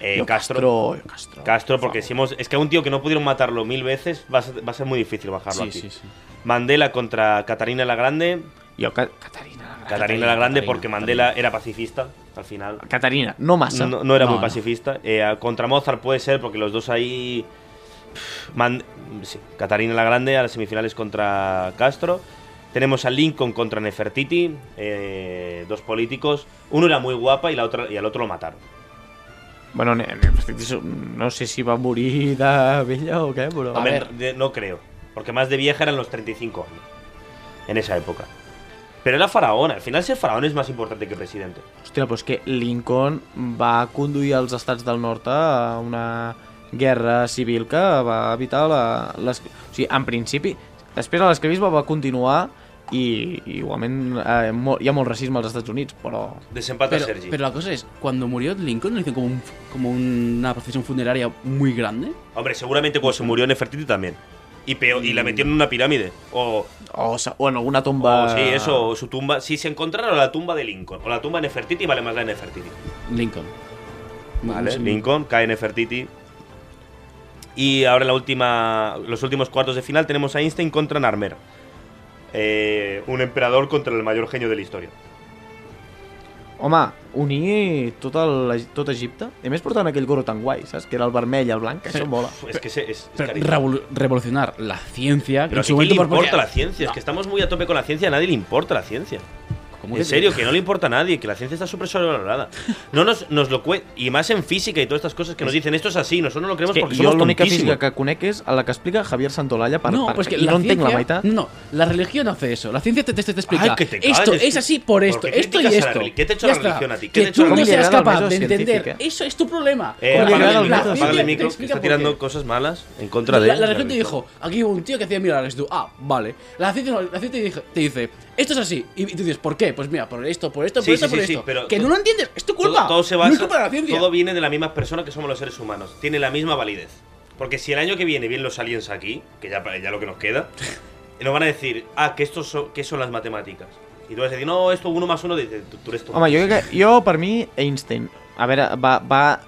S1: Eh,
S2: Yo
S1: Castro.
S2: Castro, yo Castro.
S1: Castro, porque
S2: Vamos.
S1: si hemos, es que a un tío que no pudieron matarlo mil veces va a ser, va a ser muy difícil bajarlo
S3: Sí,
S1: aquí.
S3: sí, sí.
S1: Mandela contra Catarina la Grande.
S2: Yo, Ca- Catarina.
S1: Catarina, la Grande
S3: Catarina,
S1: porque Mandela era pacifista al final.
S2: Catarina, no massa.
S1: No, no era
S3: No,
S1: muy
S3: no.
S1: pacifista. Eh, a- contra Mozart puede ser, porque los dos ahí. Pff, man- sí, Catarina la Grande a las semifinales contra Castro. Tenemos a Lincoln contra Nefertiti, eh, dos políticos. Uno era muy guapa y, la otra, y al otro lo mataron.
S2: Bueno, ne- ne- no sé si va morir de vella o qué, pero...
S1: Hombre,
S3: ver.
S1: de- no creo, porque más de vieja eran los 35 años en esa época. Pero era faraón, al final ser faraón es más importante que presidente.
S2: Hòstia, però és que Lincoln va conduir els estats del nord a una guerra civil que va evitar la... Les... O sigui, en principi, després de l'esclavisme va continuar i, i igualment eh, mo- hi ha molt racisme als Estats Units, però...
S1: Desempata
S3: Pero,
S1: Sergi.
S3: pero la cosa es, cuando murió Lincoln, ¿no hizo como, un- como una procesión funeraria muy grande?
S1: Hombre, seguramente cuando se murió Nefertiti también. Y, peor, y la metieron en una pirámide. O
S2: O, sa- o en alguna tomba...
S1: O, Oh, sí, eso, o su tumba. Si se encontraron la tumba de Lincoln o la tumba de Nefertiti, vale más la de Nefertiti.
S3: Lincoln.
S1: Vale,
S3: Sí.
S1: Lincoln, cae Nefertiti. Y ahora en la última, los últimos cuartos de final tenemos a Einstein contra Narmer. Eh, un emperador contra el mayor genio de la historia.
S2: Home, unir tot, el, tot Egipte, i a més portant aquell gorro tan guai, saps? Que era el vermell i el blanc, que això mola.
S1: Uf, es que se- es, es
S3: Pero
S1: carísimo.
S3: revolu- revolucionar la ciencia. que
S1: Pero ¿a
S3: en su
S1: quién le
S3: momento, por-
S1: importa
S3: porque-
S1: la ciencia? Es que estamos muy a tope con la ciencia, a nadie le importa la ciencia.
S3: ¿Cómo
S1: En
S3: que-
S1: serio, que no le importa a nadie, que la ciencia está súper sobrevalorada. No nos, nos lo cue Y más en física y todas estas cosas que nos dicen, esto es así, nosotros no lo creemos
S2: És que
S1: porque
S2: jo
S1: somos
S2: l'única física
S1: tontísimos.
S2: que conec és a la que explica Javier Santolalla per
S3: no,
S2: part.
S3: pues que
S2: I
S3: la
S2: no entenc
S3: ciencia,
S2: la meitat.
S3: No, la religión hace eso. La ciencia te, te, te explica.
S1: Ay, que te
S3: esto
S1: calles,
S3: es
S1: que-
S3: así por esto,
S1: ¿por qué
S3: esto y
S1: criticas a la
S3: esto.
S1: religión? ¿Qué te ha hecho
S3: Ya
S1: la
S3: está.
S1: religión a ti? ¿Qué
S3: Que
S1: te ha hecho
S3: tú
S1: la
S3: no
S2: religión?
S3: seas
S2: ¿Cómo le
S3: capaz
S2: llegaron
S3: de
S2: al método
S3: entender.
S2: científico?
S3: Eso es tu problema.
S1: Eh,
S2: Porque
S1: apaga
S2: llegaron
S1: el
S2: al
S1: micro,
S2: método
S1: apaga el
S2: científico.
S1: micro, que está tirando cosas malas en contra
S3: La,
S1: de
S3: la,
S1: él.
S3: la religión te dijo, aquí hubo un tío que hacía milagres. y Tú, ah, vale. La ciencia, no, la ciencia te, dije- te dice, esto es así. Y, tú dices, ¿por qué? Pues mira, por esto, por esto, por
S1: Sí,
S3: esto,
S1: sí,
S3: por
S1: sí, sí,
S3: esto.
S1: pero
S3: que
S1: to-
S3: no lo entiendes, es tu culpa.
S1: Todo, todo se
S3: No
S1: basa,
S3: es culpa de la ciencia.
S1: todo viene de la misma persona que somos los seres humanos. Tiene la misma validez. Porque si el año que viene vienen los aliens aquí, que ya, ya lo que nos queda, nos van a decir, ah, que estos son, que son las matemáticas. Y tú vas a decir, no, esto uno más uno, dice, tú, tú eres tonto.
S2: Home, jo, crec que, jo per mi, Einstein. A veure, va, va...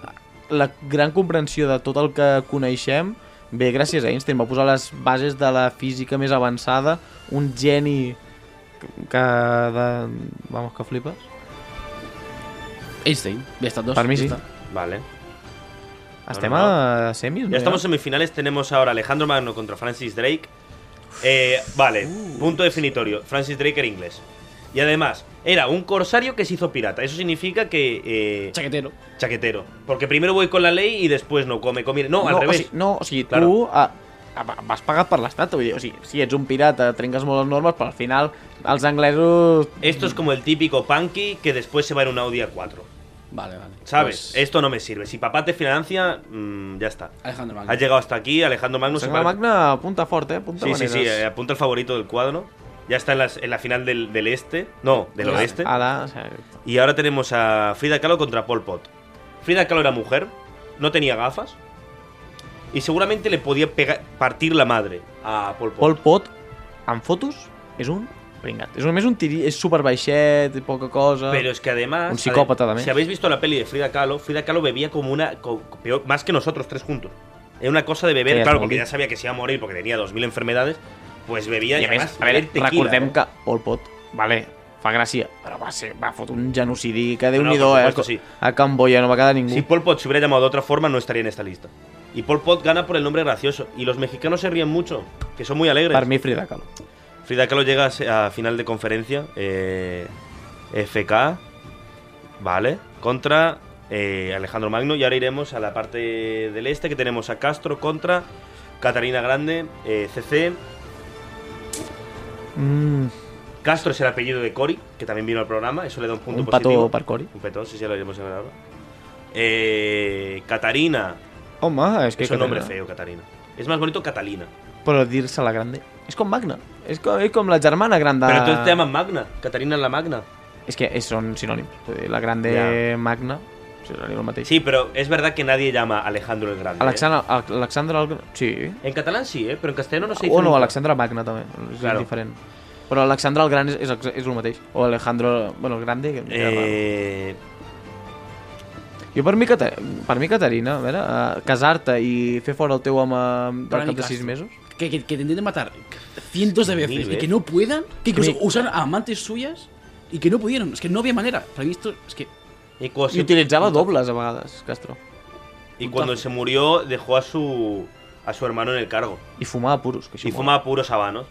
S2: La gran comprensió de tot el que coneixem ve gràcies a Einstein. Va posar les bases de la física més avançada, un geni que- que... De... Vamos, que flipes.
S3: Einstein, ya están dos.
S2: Per mi
S3: ya
S2: sí.
S3: está.
S1: Vale.
S2: Estem
S1: no,
S2: a semis, no?
S1: Ya estamos en semifinales, tenemos ahora Alejandro Magno contra Francis Drake. Eh, vale,
S3: Uh.
S1: punto definitorio. Francis Drake era inglés. Y además, era un corsario que se hizo pirata. Eso significa que... eh,
S3: Chaquetero.
S1: chaquetero. Porque primero voy con la ley y después no, come, come. No, al
S2: o
S1: revés.
S2: sigui, no, o sigui,
S1: Claro.
S2: tu, a, va- vas pagat per l'estat, vull dir, o sigui, si ets un pirata, trenques molt les normes, però al final els anglesos...
S1: Esto es como el típico punky que después se va en un Audi A4.
S3: Vale, vale.
S1: ¿Sabes?
S3: Pues,
S1: Esto no me sirve. Si papá te financia, mm, ya está.
S3: Alejandro Magno.
S1: Has llegado hasta aquí, Alejandro Magnus. se
S2: Sangre
S1: pare-
S2: Magna apunta fort, eh? Apunta
S1: Sí, sí, sí,
S2: maneres.
S1: eh, apunta el favorito del cuadro. Ya está en, las- en la final del, del este. No, del
S3: Del
S1: oeste.
S2: Ara, o sigui,
S1: Y ahora tenemos a Frida Kahlo contra Pol Pot. Frida Kahlo era mujer, no tenía gafas. Y seguramente le podía pega- partir la madre a Pol Pot.
S2: Pol Pot, en fotos, és un pringat. És només un tiri, és super baixet, poca cosa...
S1: Pero es que además.
S2: Un psicópata
S1: ade-
S2: también.
S1: Si habéis visto la peli de Frida Kahlo, Frida Kahlo bebía como una. co- peor- más que nosotros tres juntos. Era una cosa de beber,
S2: Sí, es
S1: claro,
S2: muy
S1: porque
S2: bien.
S1: ya sabía que se iba a morir porque tenía 2.000 enfermedades. Pues bebía
S2: I
S1: y
S2: a més,
S1: además,
S2: a veure,
S1: beber tequila,
S2: recordem
S1: ¿eh?
S2: que Pol Pot, vale, fa gràcia, però va, ser, va fotre un genocidi que déu
S1: No,
S2: nhi
S1: no,
S2: do
S1: per
S2: eh?
S1: supuesto, sí.
S2: A Camboya no va quedar ningú.
S1: Si Pol Pot se hubiera llamado de otra forma, no estaría en esta lista. Y Pol Pot gana por el nombre gracioso. Y los mexicanos se ríen mucho, que son muy alegres.
S2: per mi Frida Kahlo.
S1: Frida Kahlo llega a se- a final de conferencia. eh, FK, ¿vale? Contra eh, Alejandro Magno. Y ahora iremos a la parte del este, que tenemos a Castro contra Catarina Grande, eh, CC.
S2: Mm,
S1: Castro es el apellido de Cory, que también vino al programa. Eso le da un punto
S2: un pató
S1: positivo.
S2: per Cori.
S1: Un petón, sí, sí, lo iremos a ver ahora. Eh, Catarina.
S2: Home, és que...
S1: Es un nombre
S2: Catalina.
S1: feo, Catarina. Es más bonito Catalina.
S2: Però dir-se la grande. És com Magna. És com, és com la germana gran de...
S1: Pero entonces te llaman Magna. Catarina la Magna.
S2: És que és, són sinònims. Vull dir, La grande
S1: Ja.
S2: Magna... Sinònim el mateix.
S1: Sí, pero es verdad que nadie llama a Alejandro el Grande. ¿eh?
S2: Alexandra... Alexandra... el- Sí.
S1: En catalán sí, ¿eh? pero en castellano no se dice.
S2: O no,
S1: nunca.
S2: Alexandra Magna també. És
S1: Claro.
S2: diferent. Però Alexandra el Gran és, és, ex- és el mateix. O Alejandro... Bueno, el Grande... Que em queda raro.
S1: Eh,
S2: Jo per mi, Cata- per mi Caterina, a veure, eh, casar-te i fer fora el teu home
S3: Per mi
S2: del cap de
S3: Castro.
S2: 6 mesos...
S3: Que, que, que te intenten matar cientos de
S1: Mil
S3: veces y que
S1: veces.
S3: no puedan, que incluso
S2: mí-
S3: usaron a amantes suyas y que no pudieron. Es que no había manera. Para mí esto es que.
S1: y cuando,
S2: I
S1: se,
S2: utilitzava dobles a vegades, Castro.
S1: y cuando se murió, dejó a su, a su hermano en el cargo.
S2: I fumava puros, que això
S1: Y
S2: mola.
S1: fumaba puros habanos.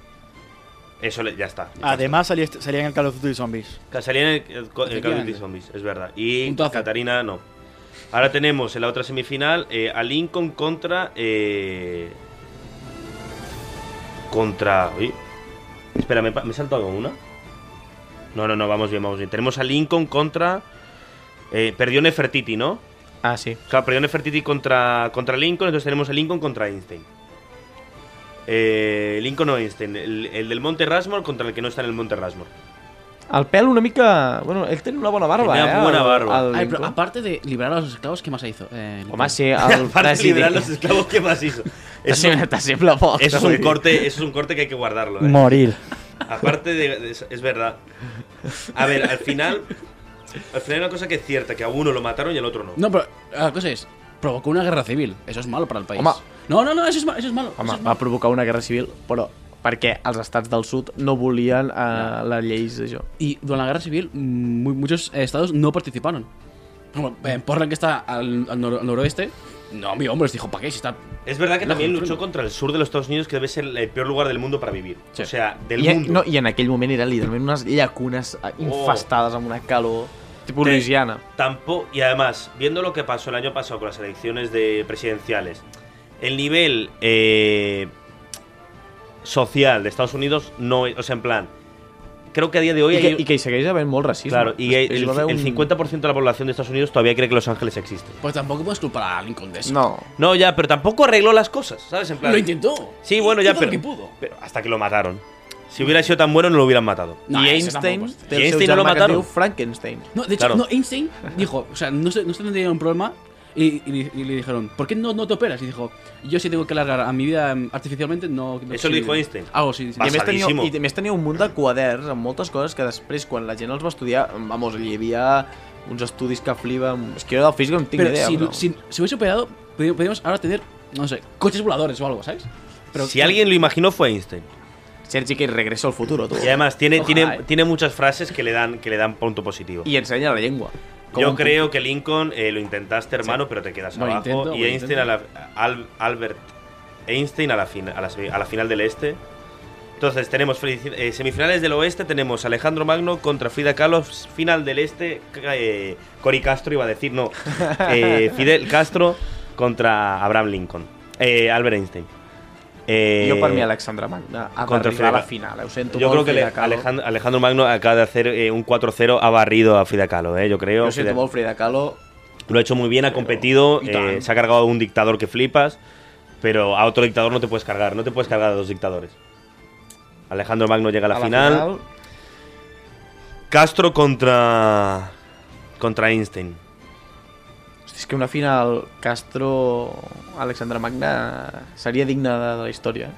S1: Eso le- ya está.
S4: Además salía, este- salía en el Call of Duty Zombies.
S1: Que Salía en el, el, co- el Call of Duty
S3: Efectivamente.
S1: Zombies, es verdad. Y
S3: Puntazo.
S1: Catarina no. Ahora tenemos en la otra semifinal eh, a Lincoln contra. eh, contra. uy. Espera, ¿me, pa- me he saltado una? No, no, no, vamos bien, vamos bien. Tenemos a Lincoln contra. Eh, perdió Nefertiti, ¿no?
S2: Ah, sí.
S1: Claro, perdió Nefertiti contra, contra Lincoln, entonces tenemos a Lincoln contra Einstein. Eh, Lincoln o Einstein, el, el del Monte Rasmor contra el que no está en el Monte Rasmor.
S2: El pèl una mica... Bueno, ell tenia una bona barba,
S1: Tenia
S2: eh?
S1: bona
S2: el-
S1: barba.
S2: el
S3: Ay, pero
S2: Lincoln.
S3: aparte de liberar a los esclavos, ¿qué más hizo? Eh,
S2: Home,
S3: Nicolás?
S2: sí, el
S1: Aparte de liberar los
S2: president...
S1: esclavos, ¿qué más hizo? Eso,
S2: T'assembla- T'assembla poc.
S1: eso es
S2: vull
S1: un
S2: dir.
S1: corte, eso es un corte que hay que guardarlo. ¿eh?
S4: Morir.
S1: Aparte de, de- es, es verdad. A ver, al final, al final hay una cosa que es cierta, que a uno lo mataron y al otro no.
S3: No, pero ah, la cosa es: provocó una guerra civil. Eso es malo para el país.
S2: Home.
S3: No, no, no, eso es malo. Eso es malo. eso
S2: Home,
S3: es
S2: va
S3: malo.
S2: provocar una guerra civil, però perquè els estats del sud no volien eh, les lleis d'això.
S3: Y durante la guerra civil, mu- muchos eh, estados no participaron. Como, eh, Portland, que está al, al nor- al noroeste, no, mi hombre, les dijo: ¿para qué? Si está.
S1: Es verdad que
S3: No,
S1: también
S3: no, no.
S1: luchó contra el sur de los Estados Unidos, que debe ser el peor lugar del mundo para vivir.
S3: Sí.
S1: O sea, del
S2: I,
S1: mundo.
S2: no, I en aquell moment eren literalment unes llacunes eh, infestades amb una calor tipus Louisiana.
S1: Tampoco, y además, viendo lo que pasó el año pasado con las elecciones de presidenciales, el nivel eh, social de Estados Unidos no es. O sea, en plan. Creo que a día de hoy.
S2: I, que,
S1: hay-
S2: I que hi segueix havent molt racisme.
S1: claro, y el,
S2: Després va haver
S1: el 50% de la población de Estados Unidos todavía cree que Los Ángeles existe.
S3: Pues tampoco puedes culpar a Lincoln de eso.
S2: No.
S1: No, ya, pero tampoco arregló las cosas, ¿sabes? En plan.
S3: Lo intentó.
S1: Sí, bueno, ya,
S3: Hizo lo
S1: pero,
S3: que pudo.
S1: pero hasta que lo mataron. Si hubiera sido tan bueno, no lo hubieran matado.
S3: No,
S2: I
S3: eso
S2: Einstein
S3: tampoco es-
S2: té el
S1: I
S2: seu
S1: Einstein no
S2: germà
S1: lo
S2: que es
S1: mataron.
S2: diu Frankenstein.
S3: No, de hecho,
S1: Claro.
S3: no, Einstein dijo, o sea, no se, no se tenía un problema y, y- y le dijeron, ¿por qué no, no te operas? Y dijo, yo si tengo que alargar a mi vida em, artificialmente, no... no
S1: Eso
S3: sí".
S1: lo dijo Einstein.
S3: Algo sí, sí.
S2: I a, més tenia,
S1: Passadíssimo.
S2: I a més tenia un munt de quaderns amb moltes coses que després, quan la gent els va estudiar, vamos, hi havia uns estudis que fliba... És que jo del físic no en tinc
S3: Pero
S2: idea,
S3: si,
S2: però...
S3: si, si hubiese operado, pudi- podríamos ahora tener, no sé, coches voladores o algo, ¿sabes? Pero,
S1: si alguien lo imaginó fue Einstein.
S2: Sergi que regresa al futuro, tu.
S1: Y además tiene, tiene,
S3: Ojalá, eh.
S1: tiene muchas frases que le dan, que le dan punto positivo.
S2: I ensenya la llengua. Com
S1: Yo
S2: un-
S1: creo que Lincoln eh, lo intentaste, hermano, pero te quedas
S3: Buen
S1: abajo.
S3: intento,
S1: y
S3: buen
S1: Einstein, a la, Al- Albert Einstein a la, fin- a, la, semi- a la final del este. Entonces, tenemos felici- eh, semifinales del oeste, tenemos Alejandro Magno contra Frida Kahlo, s- final del este, c- eh, Cory Castro iba a decir, no, eh, Fidel Castro contra Abraham Lincoln, eh, Albert Einstein. Eh,
S2: Jo per mi Alexandre Magna ha
S1: contra
S2: d'arribar a la
S1: Frida.
S2: final, eh? ho sento
S1: Yo
S2: molt,
S1: creo que
S2: Frida
S1: le-
S2: Kahlo.
S1: Alejandro, Alejandro Magno acaba de hacer eh, un 4-0, ha barrido a Frida Kahlo, eh, yo creo.
S2: Jo sento
S1: Frida-
S2: molt Frida Kahlo,
S1: lo ha hecho muy bien, ha competido,
S2: y tan.
S1: eh, se ha cargado a un dictador que flipas, pero a otro dictador no te puedes cargar, no te puedes cargar a dos dictadores. Alejandro Magno llega a la, final. Castro contra contra Einstein.
S2: Hosti, és que una final Castro-Alexandre Magna seria digna de, de la història.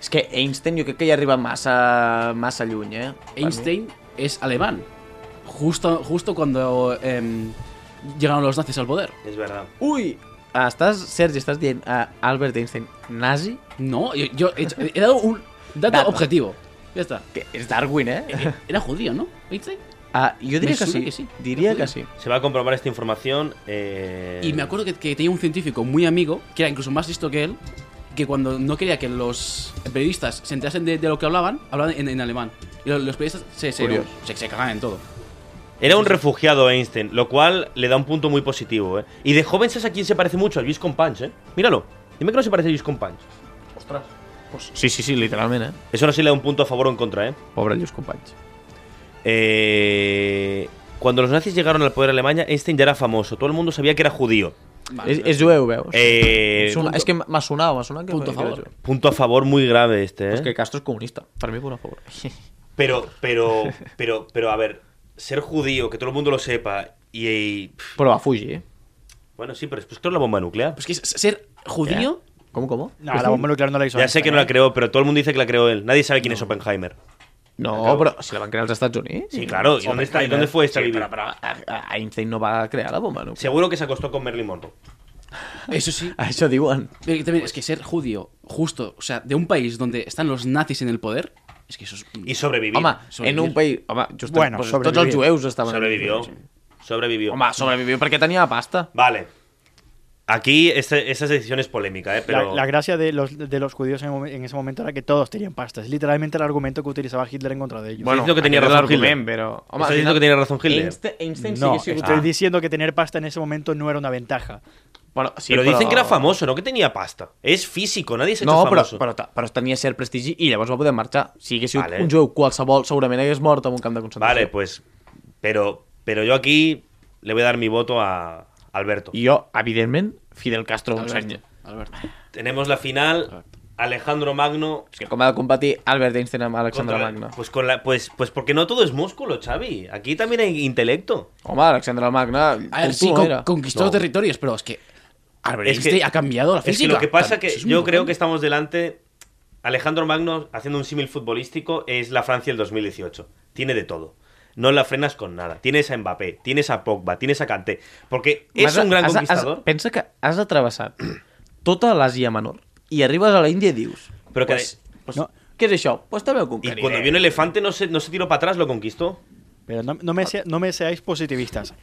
S2: És que Einstein jo crec que ja arriba massa, massa lluny, eh? Per mi.
S3: Einstein es alemán. Justo, justo cuando em, llegaron los nazis al poder.
S1: Es verdad.
S2: Ui! Ah, Estàs, Sergi, estàs dient a Albert Einstein nazi?
S3: No, yo, yo he, hecho- he dado un dato
S2: Dato.
S3: objetivo. Ya está.
S2: Que és Darwin, eh?
S3: Era judío, ¿no? Einstein.
S2: Ah, jo diria que
S3: sona
S2: sí.
S3: que sí.
S2: Diria que
S3: Joder.
S2: sí.
S1: Se va a comprobar esta información. eh,
S3: Y me acuerdo que, que tenía un científico muy amigo, que era incluso más listo que él, que cuando no quería que los periodistas se enterasen de, de lo que hablaban, hablaban en, en alemán. Y lo- los, periodistas se, se,
S2: Curioso.
S3: se, se cagaban en todo.
S1: Era un refugiado Einstein, lo cual le da un punto muy positivo. ¿eh? Y de joven, ¿sabes a quién se parece mucho? A Luis Companch, ¿eh? Míralo. Dime que no se parece a Luis Companch.
S2: Ostres. Pues, sí, sí, sí, literalment, eh?
S1: Eso no sé si le da un punto a favor o en contra, ¿eh?
S2: Pobre Lluís Companys.
S1: Eh, Cuando los nazis llegaron al poder a Alemanya, Einstein ya era famoso. Todo el mundo sabía que era judío.
S3: Vale,
S2: És, és jueu, veus?
S1: Eh,
S2: Sona- és que m'ha sonat, m'ha sonat que...
S3: Punto a
S2: que era
S3: favor.
S2: jueu.
S1: punto a favor muy grave este, ¿eh?
S2: És que Castro és comunista. Per mi, punt a favor.
S1: Pero, pero, pero, pero, a ver, ser judío, que todo el mundo lo sepa, y. y- pff,
S2: Però va fugir, eh?
S1: bueno, sí, pero después creó la bomba nuclear.
S3: Pues que es- ser judío,
S2: Com, com?
S4: No, la bomba nuclear no la hizo. ¿eh?
S1: ya sé que no la creó, pero todo el mundo dice que la creó él. Nadie sabe quién es Oppenheimer.
S2: No, però si la van crear als Estats Units.
S1: Sí, claro. ¿Y dónde, está, y dónde fue esta
S2: Sí,
S1: vivi-
S2: però, però a- a- Einstein no va crear la bomba, no?
S1: Seguro que se acostó con Merlin Monroe.
S3: eso sí.
S2: Això diuen.
S3: Pero que también es que ser judío, justo, o sea, de un país donde están los nazis en el poder, es que eso es.
S1: Y sobrevivió.
S2: Home,
S3: sobrevivir.
S2: en un país... Home, just
S4: Bueno,
S2: pues, tots
S4: sobrevivir.
S2: els jueus estaven...
S1: sobrevivió. Sobrevivió.
S2: Home, sobrevivió perquè tenia pasta.
S1: Vale. Aquí esta, esta decisión es polémica, ¿eh?
S4: La,
S1: Pero.
S4: la gracia de los, de los judíos en, en ese momento era que todos tenían pasta. Es literalmente el argumento que utilizaba Hitler en contra de ellos.
S1: Bueno, diciendo que tenía
S2: aquest
S1: razón
S2: era l'argument,
S1: Hitler.
S2: Però, home,
S1: Estás diciendo que tenía razón Hitler.
S2: Einstein, Einstein
S4: no,
S2: sí que
S4: estoy
S2: sigut... Ah,
S4: diciendo que tener pasta en ese momento no era una ventaja.
S2: però, sí,
S1: pero dicen que era famoso, no que tenía pasta. Es físico, nadie se ha hecho
S2: No, però,
S1: famoso.
S2: però, ta- però tenia cert prestigi i llavors va poder marxar. Si hagués sigut
S1: Vale.
S2: un jueu qualsevol, segurament hagués mort en un camp de concentració.
S1: Vale, pues. Pero, pero yo aquí le voy a dar mi voto a Alberto.
S2: I jo, evidentment, Fidel Castro un
S3: Alberto,
S2: seny.
S3: Alberto.
S1: Tenemos la final. Alejandro Magno.
S2: És que com ha de competir Albert Einstein amb Alexandre
S1: contra-
S2: Magna?
S1: Pues, con la, pues, pues porque no todo es músculo, Xavi. Aquí también hay intelecto.
S2: Home, Alexandre Magna...
S3: A ver,
S2: tonto
S3: sí,
S2: no
S3: con-
S2: era.
S3: conquistó
S1: No.
S3: territorios, pero es que. Albert
S1: Es que-
S3: Einstein este ha cambiado la
S1: Es
S3: física.
S1: que lo que pasa
S3: Eso
S1: que
S3: es
S1: yo
S3: muy
S1: creo
S3: bueno.
S1: que estamos delante. Alejandro Magno, haciendo un símil futbolístico, es la Francia del 2018. Tiene de todo. No la frenas con nada. Tienes a Mbappé, tienes a Pogba, tienes a Kanté. Porque es
S2: M'has-
S1: un gran
S2: has- has-
S1: conquistador.
S2: pensa que has atravessat tota l'Àsia Menor i arribes a l'Índia i dius...
S1: Però que-
S2: Pues, pues,
S4: No.
S2: Què és això? Pues també ho
S1: Y
S2: conqueriré.
S1: cuando vio un elefante, no se, no se tiró para atrás, lo conquistó.
S4: Pero no, no me, sea- no me seáis positivistas.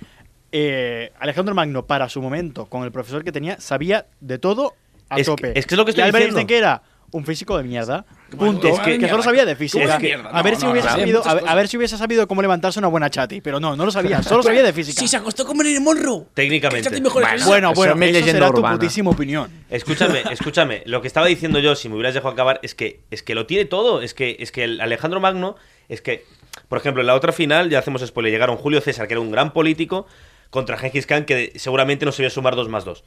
S4: Eh, Alejandro Magno, para su momento, con el profesor que tenía, sabía de todo a
S1: Es que-
S4: tope.
S1: es que es lo que estoy
S4: y Albert
S1: diciendo.
S4: Einstein, que era un físico de mierda.
S3: Bueno,
S4: Punto.
S3: es que-
S4: que, solo sabía de física.
S1: Es que-
S4: a ver si
S3: no, no,
S4: hubiese
S3: no, no.
S4: sabido, a,
S3: Muchas
S4: ver- a ver si hubiese sabido cómo levantarse una buena chati. Pero no, no lo sabía. Solo sabía de física.
S3: Sí, se acostó con Marilyn Monroe.
S1: Técnicamente.
S3: Fíjate mejor
S2: Bueno,
S3: eso.
S4: Bueno,
S2: Eso
S4: bueno,
S2: me es
S4: Ah, eso
S2: leyenda
S4: será
S2: urbana.
S4: tu putísima opinión.
S1: Escúchame, escúchame. Lo que estaba diciendo yo, si me hubieras dejado acabar, es que es que lo tiene todo. Es que es que el Alejandro Magno, es que, por ejemplo, en la otra final ya hacemos spoiler. Llegaron Julio César, que era un gran político, contra Gengis Khan, que seguramente no se iba a sumar dos más dos.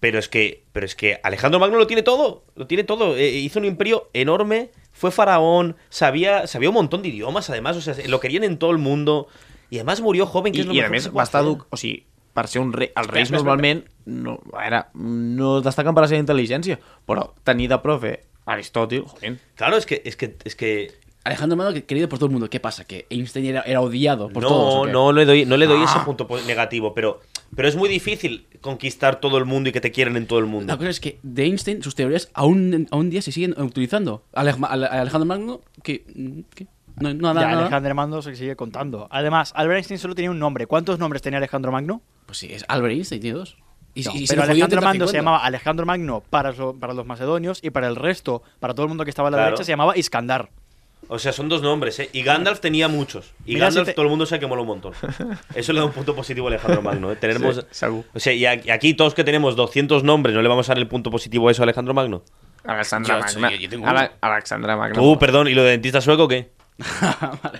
S1: Pero es que, pero es que Alejandro Magno lo tiene todo, lo tiene todo. Eh, hizo un imperio enorme, fue faraón, sabía, sabía un montón de idiomas, además, o sea, lo querían en todo el mundo. Y además murió joven, que
S2: I,
S1: es lo
S2: i a
S1: mejor que
S2: més
S1: se puede
S2: va estar
S1: hacer.
S2: educ... O sigui, per ser un rei, els reis
S1: espera, espera.
S2: normalment no, a veure, no destaquen per la seva intel·ligència, però tenir de profe Aristòtil, joder,
S1: Claro, es que, es que, es que
S3: Alejandro Magno, que- querido por todo el mundo. ¿Qué pasa? ¿Que Einstein era, era odiado por
S1: no,
S3: todos? ¿o qué? Ah.
S1: no le doy, no le doy ese punto po- negativo, pero, pero es muy difícil conquistar todo el mundo y que te quieran en todo el mundo.
S3: La cosa es que de Einstein sus teorías aún, aún día se siguen utilizando. Alej- Ale- Alejandro Magno, que... que no, no, nada,
S4: Ya,
S3: nada.
S4: Alejandro Magno se sigue contando. Además, Albert Einstein solo tenía un nombre. ¿Cuántos nombres tenía Alejandro Magno?
S3: Pues sí, es Albert Einstein, tiene dos. Y,
S4: No,
S3: y- y se
S4: pero
S3: lo jodió
S4: Alejandro
S3: entre
S4: Magno se
S3: 50.
S4: llamaba Alejandro Magno para, so- para los macedonios y para el resto, para todo el mundo que estaba a la
S1: Claro.
S4: derecha, se llamaba Iskandar.
S1: O sea, son dos nombres, ¿eh? Y Gandalf tenía muchos. Y
S4: Mira,
S1: Gandalf
S4: si te-
S1: todo el mundo se que mola un montón. Eso le da un punto positivo a Alejandro Magno, ¿eh? Tenemos...
S2: Sí, segur.
S1: O sea, y a- y aquí todos que tenemos 200 nombres, ¿no le vamos a dar el punto positivo a eso a Alejandro Magno?
S2: Alexandra
S3: Yo-
S2: Magna.
S3: yo- yo tengo
S2: Ala-
S3: uno.
S2: Alexandra Magna.
S1: Tú, Uh, perdón, ¿y lo de dentista sueco o qué?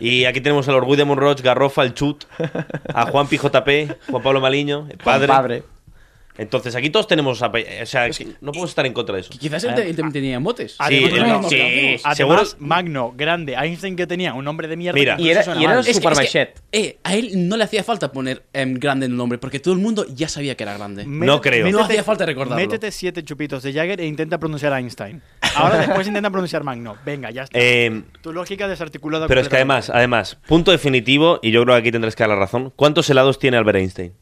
S1: Y aquí tenemos al Orgullo de Monroch, Garrofa, el Chut, a Juan PJP, Juan Pablo Maliño, el
S2: Padre.
S1: padre. Entonces aquí todos tenemos. ape- O sea, que no podemos estar en contra de eso.
S3: Qui- Quizás él, te- él también tenía motes.
S4: Ah, Además,
S1: el-
S4: no,
S1: sí,
S3: no,
S4: Además,
S1: seguro.
S4: Magno, grande, Einstein que tenía un nombre de mierda.
S1: Mira.
S4: incluso
S2: Y era-
S4: suena
S2: y era
S4: mal.
S3: Es que-
S2: Super
S3: es que,
S2: Machete.
S3: eh, a él no le hacía falta poner em, grande en el nombre, porque todo el mundo ya sabía que era grande.
S1: No creo.
S3: No hacía falta recordarlo.
S4: Métete siete chupitos de Jagger e intenta pronunciar Einstein. Ahora después intenta pronunciar Magno. Venga, ya está.
S1: Eh,
S4: tu lógica desarticulada.
S1: pero es que además,
S4: completamente.
S1: además, punto definitivo, y yo creo que aquí tendrás que dar la razón. ¿Cuántos helados tiene Albert Einstein?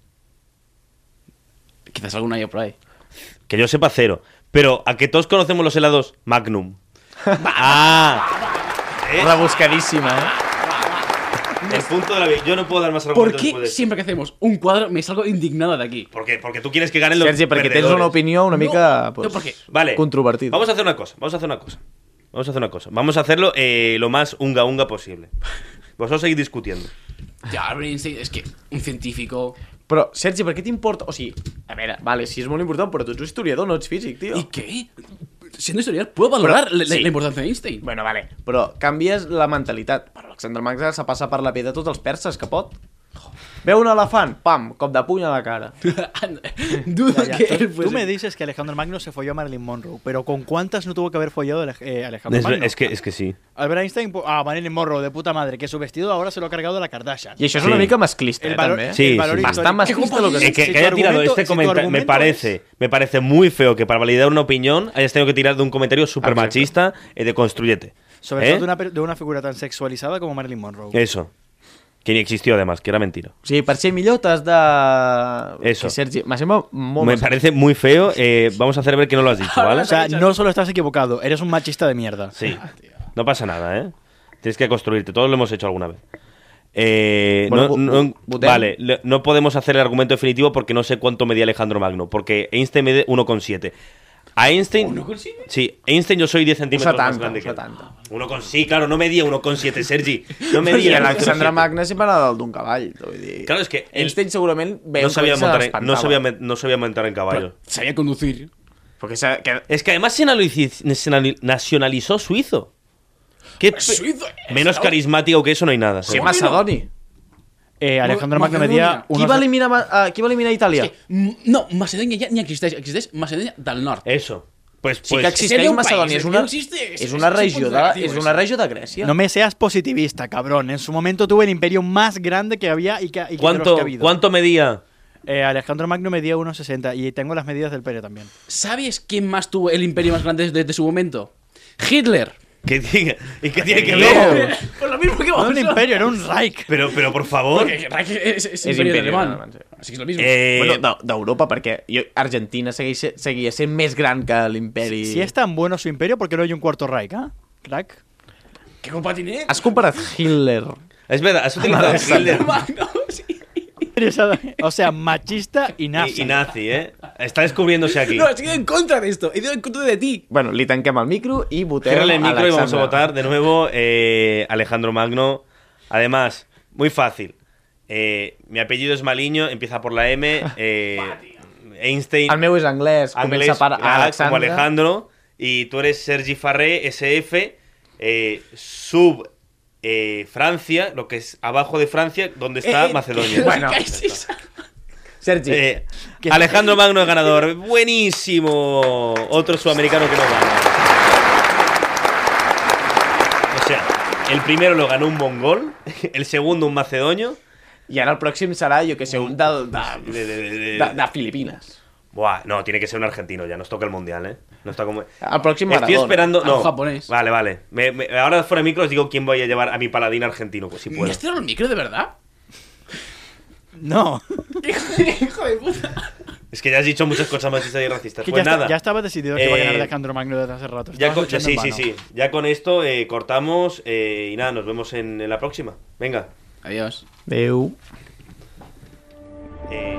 S3: Quizás alguna haya por ahí.
S1: Que yo sepa cero. Pero a que todos conocemos los helados Magnum. ah,
S2: Rebuscadíssima, eh?
S1: el punto de la vida. Yo no puedo dar más
S3: ¿Por
S1: argumentos.
S3: qué
S1: después de-
S3: siempre que hacemos un cuadro me salgo indignado de aquí?
S1: Porque, porque tú quieres que ganen los.
S2: Sergi, perquè tens
S1: perdedores.
S2: una opinió una
S3: No,
S2: mica...
S3: no, perquè-
S1: Vale.
S2: Controvertida.
S1: Vamos a hacer una cosa. Vamos a hacer una cosa. Vamos a hacer una cosa. Vamos a hacerlo eh, lo más unga unga posible. Vosotros seguís discutiendo.
S3: Ya, Albert Einstein es que un científico.
S2: Però, Sergi, per què t'importa? O sigui, a veure, vale, sí, és molt important, però tu ets historiador, no ets físic, tio.
S3: ¿Y qué? Siendo historial, puedo valorar la, la-
S2: sí.
S3: la importancia de Einstein.
S2: Bueno, vale. Però canvies la mentalitat. Per Alexander Magna se passa per la pell de tots els perses que pot. Veu un elefant, pam, cop de puny a la cara.
S3: Dudo
S4: Ya,
S3: que
S4: tú-
S3: él
S4: Tú
S3: fuese-
S4: me dices que Alejandro Magno se folló a Marilyn Monroe, pero ¿con cuántas no tuvo que haber follado Alej- eh, Alejandro
S1: Es,
S4: Magno?
S1: es que, es que sí.
S4: Albert Einstein po- a Marilyn Monroe, de puta madre, que su vestido ahora se lo ha cargado la Kardashian.
S2: I això és
S1: Sí.
S2: una mica masclista,
S4: El
S2: eh,
S4: valor,
S2: també. eh?
S1: Sí,
S4: el valor
S1: sí.
S4: histórico-
S2: Bastant masclista lo que
S1: Eh,
S2: és.
S1: que,
S4: Si
S1: que
S4: tu
S1: haya tirado
S4: argumento-
S1: este
S4: si tu
S1: comentario me
S4: argumento
S1: parece
S4: es-
S1: me parece muy feo que para validar una opinión hayas tenido que tirar de un comentario súper machista eh, de construyete
S4: Sobre
S1: ¿Eh?
S4: todo de una, per- de una figura tan sexualizada como Marilyn Monroe.
S1: eso que ni existió además que era mentira
S2: O sigui, per ser millor t'has de...
S1: Eso.
S2: Que, Sergi, me sembla molt...
S1: me
S2: masclista.
S1: parece muy feo eh, vamos a hacer ver que no lo has dicho vale
S4: O sea, no solo estás equivocado, eres un machista de mierda.
S1: sí no pasa nada eh tienes que construirte todos lo hemos hecho alguna vez Eh,
S2: Bueno,
S1: no-
S2: bu-
S1: no-
S2: bu- votem.
S1: vale, le- no podemos hacer el argumento definitivo porque no sé cuánto medía Alejandro Magno, porque Einstein mide 1,7. A Einstein...
S3: ¿1,7?
S1: Sí, Einstein yo soy 10 centímetros más
S2: 70,
S1: grande que él.
S2: 70.
S1: Uno con, sí, claro, no medía 1,7, Sergi. No
S2: I
S1: medía
S2: Alexandre
S1: 1,7.
S2: Magna sempre anava dalt d'un cavall. Vull dir...
S1: Claro, és que ell-
S2: Einstein segurament...
S1: No sabía, montar en, no, sabía,
S2: sabia...
S1: men- no sabía montar en caballo.
S3: Sabía conducir.
S2: Perquè s'ha- que...
S1: Es que además se nacionaliz- se na- nacionalizó suizo. ¿Qué pe-
S3: suizo, eh,
S1: Menos
S3: estaba-
S1: carismático que eso no hay nada.
S2: Sí,
S1: seguro.
S2: Macedoni.
S4: Eh, Alejandro Magno medía
S3: Macedonia.
S2: Qui
S4: unos...
S2: va eliminar, Ma- eh, qui va eliminar Itàlia?
S3: Es que, mm, no, Macedonia ya ni existeix. Existeix Macedonia del nord.
S1: Eso. Pues,
S2: Sí
S1: pues
S2: que
S3: seria
S2: existeix
S3: un país,
S2: Macedònia, és
S3: no
S2: una,
S3: existe, és-
S2: és una
S3: és un
S2: regió
S3: punt
S2: de,
S3: negatiu,
S2: és
S3: això.
S2: una regió de Grècia.
S4: No me seas positivista, cabrón. En su momento tuvo el imperio más grande que había y que, y que de los
S1: ¿cuánto,
S4: que ha habido.
S1: ¿cuánto medía?
S4: Eh, Alejandro Magno medía 1,60 y tengo las medidas del pene también.
S3: ¿Sabes quién más tuvo el imperio más grande desde su momento? Hitler.
S1: ¿Qué tiene, ¿Y qué tiene que
S2: No.
S1: ver?
S3: Pues lo mismo que
S4: No
S3: vos.
S4: era un imperio, era un Reich.
S1: Pero, pero por favor.
S3: Porque Reich es, es,
S2: Es
S3: imperio,
S2: imperio
S3: alemán.
S2: alemán, sí.
S3: Así que es lo mismo.
S1: Eh,
S2: Bueno, d'Eu- d'Europa, perquè jo, Argentina segueix, se- seguia sent més gran que l'imperi...
S4: Si es tan bueno su imperio, ¿por qué no hay un cuarto Reich, ah? Crack.
S3: ¿Qué culpa tiene?
S2: Has comparat Hitler...
S1: Es verdad, has utilizado Hitler
S3: Magno, sí.
S4: O sea, machista y nazi.
S1: y, y nazi, ¿eh? Está descubriéndose aquí.
S3: No, estoy en contra de esto. He ido en contra de ti.
S2: Bueno, li tanquem el micro i votem
S1: Cierra el micro y
S2: Alexandre.
S1: vamos a votar de nuevo eh, Alejandro Magno. Además, muy fácil. Eh, mi apellido es Maliño, empieza por la M. eh, Einstein,
S2: El meu és anglès,
S1: anglès,
S2: comença per
S1: ah, como
S2: Alexandre.
S1: Alejandro. Y tú eres Sergi Farré, SF, eh, sub eh, Francia, lo que es abajo de Francia, donde está Macedonia.
S2: bueno.
S3: Eh, ¿Qué es eso?
S2: Sergi, eh,
S1: Eh, Alejandro Magno es ganador. Buenísimo. Otro sudamericano que no gana. O sea, el primero lo ganó un mongol, el segundo un macedonio.
S2: i ara el pròxim serà, jo que sé, un de,
S3: Ah,
S2: de,
S1: De- de- de- de-
S2: de, de Filipines.
S1: Buah, no, tiene que ser un argentino ya, nos toca el mundial, ¿eh? No está como...
S2: Al próximo
S1: Estoy
S2: Maradona.
S1: esperando...
S3: A
S1: No,
S3: un japonés.
S1: Vale, vale. Me- me- ahora fuera de micro os digo quién voy a llevar a mi paladín argentino, pues, si
S3: ¿Me
S1: puedo.
S3: has tirado el micro de verdad?
S4: No.
S1: Pues
S3: Hijo de, hijo de puta.
S1: Es que ya has dicho muchas cosas machistas y racistas.
S4: Que
S1: Pues
S4: ya,
S1: nada.
S4: está- ya estaba decidido que iba a ganar
S1: Eh,
S4: Alejandro Magno desde hace rato.
S1: Ya
S4: Estabas
S1: con, ya-
S4: luchando
S1: sí,
S4: en
S1: sí,
S4: vano.
S1: sí. Ya con esto eh, cortamos eh, y nada, nos vemos en, en la próxima. Venga.
S3: Adiós.
S2: Adéu.
S1: Eh,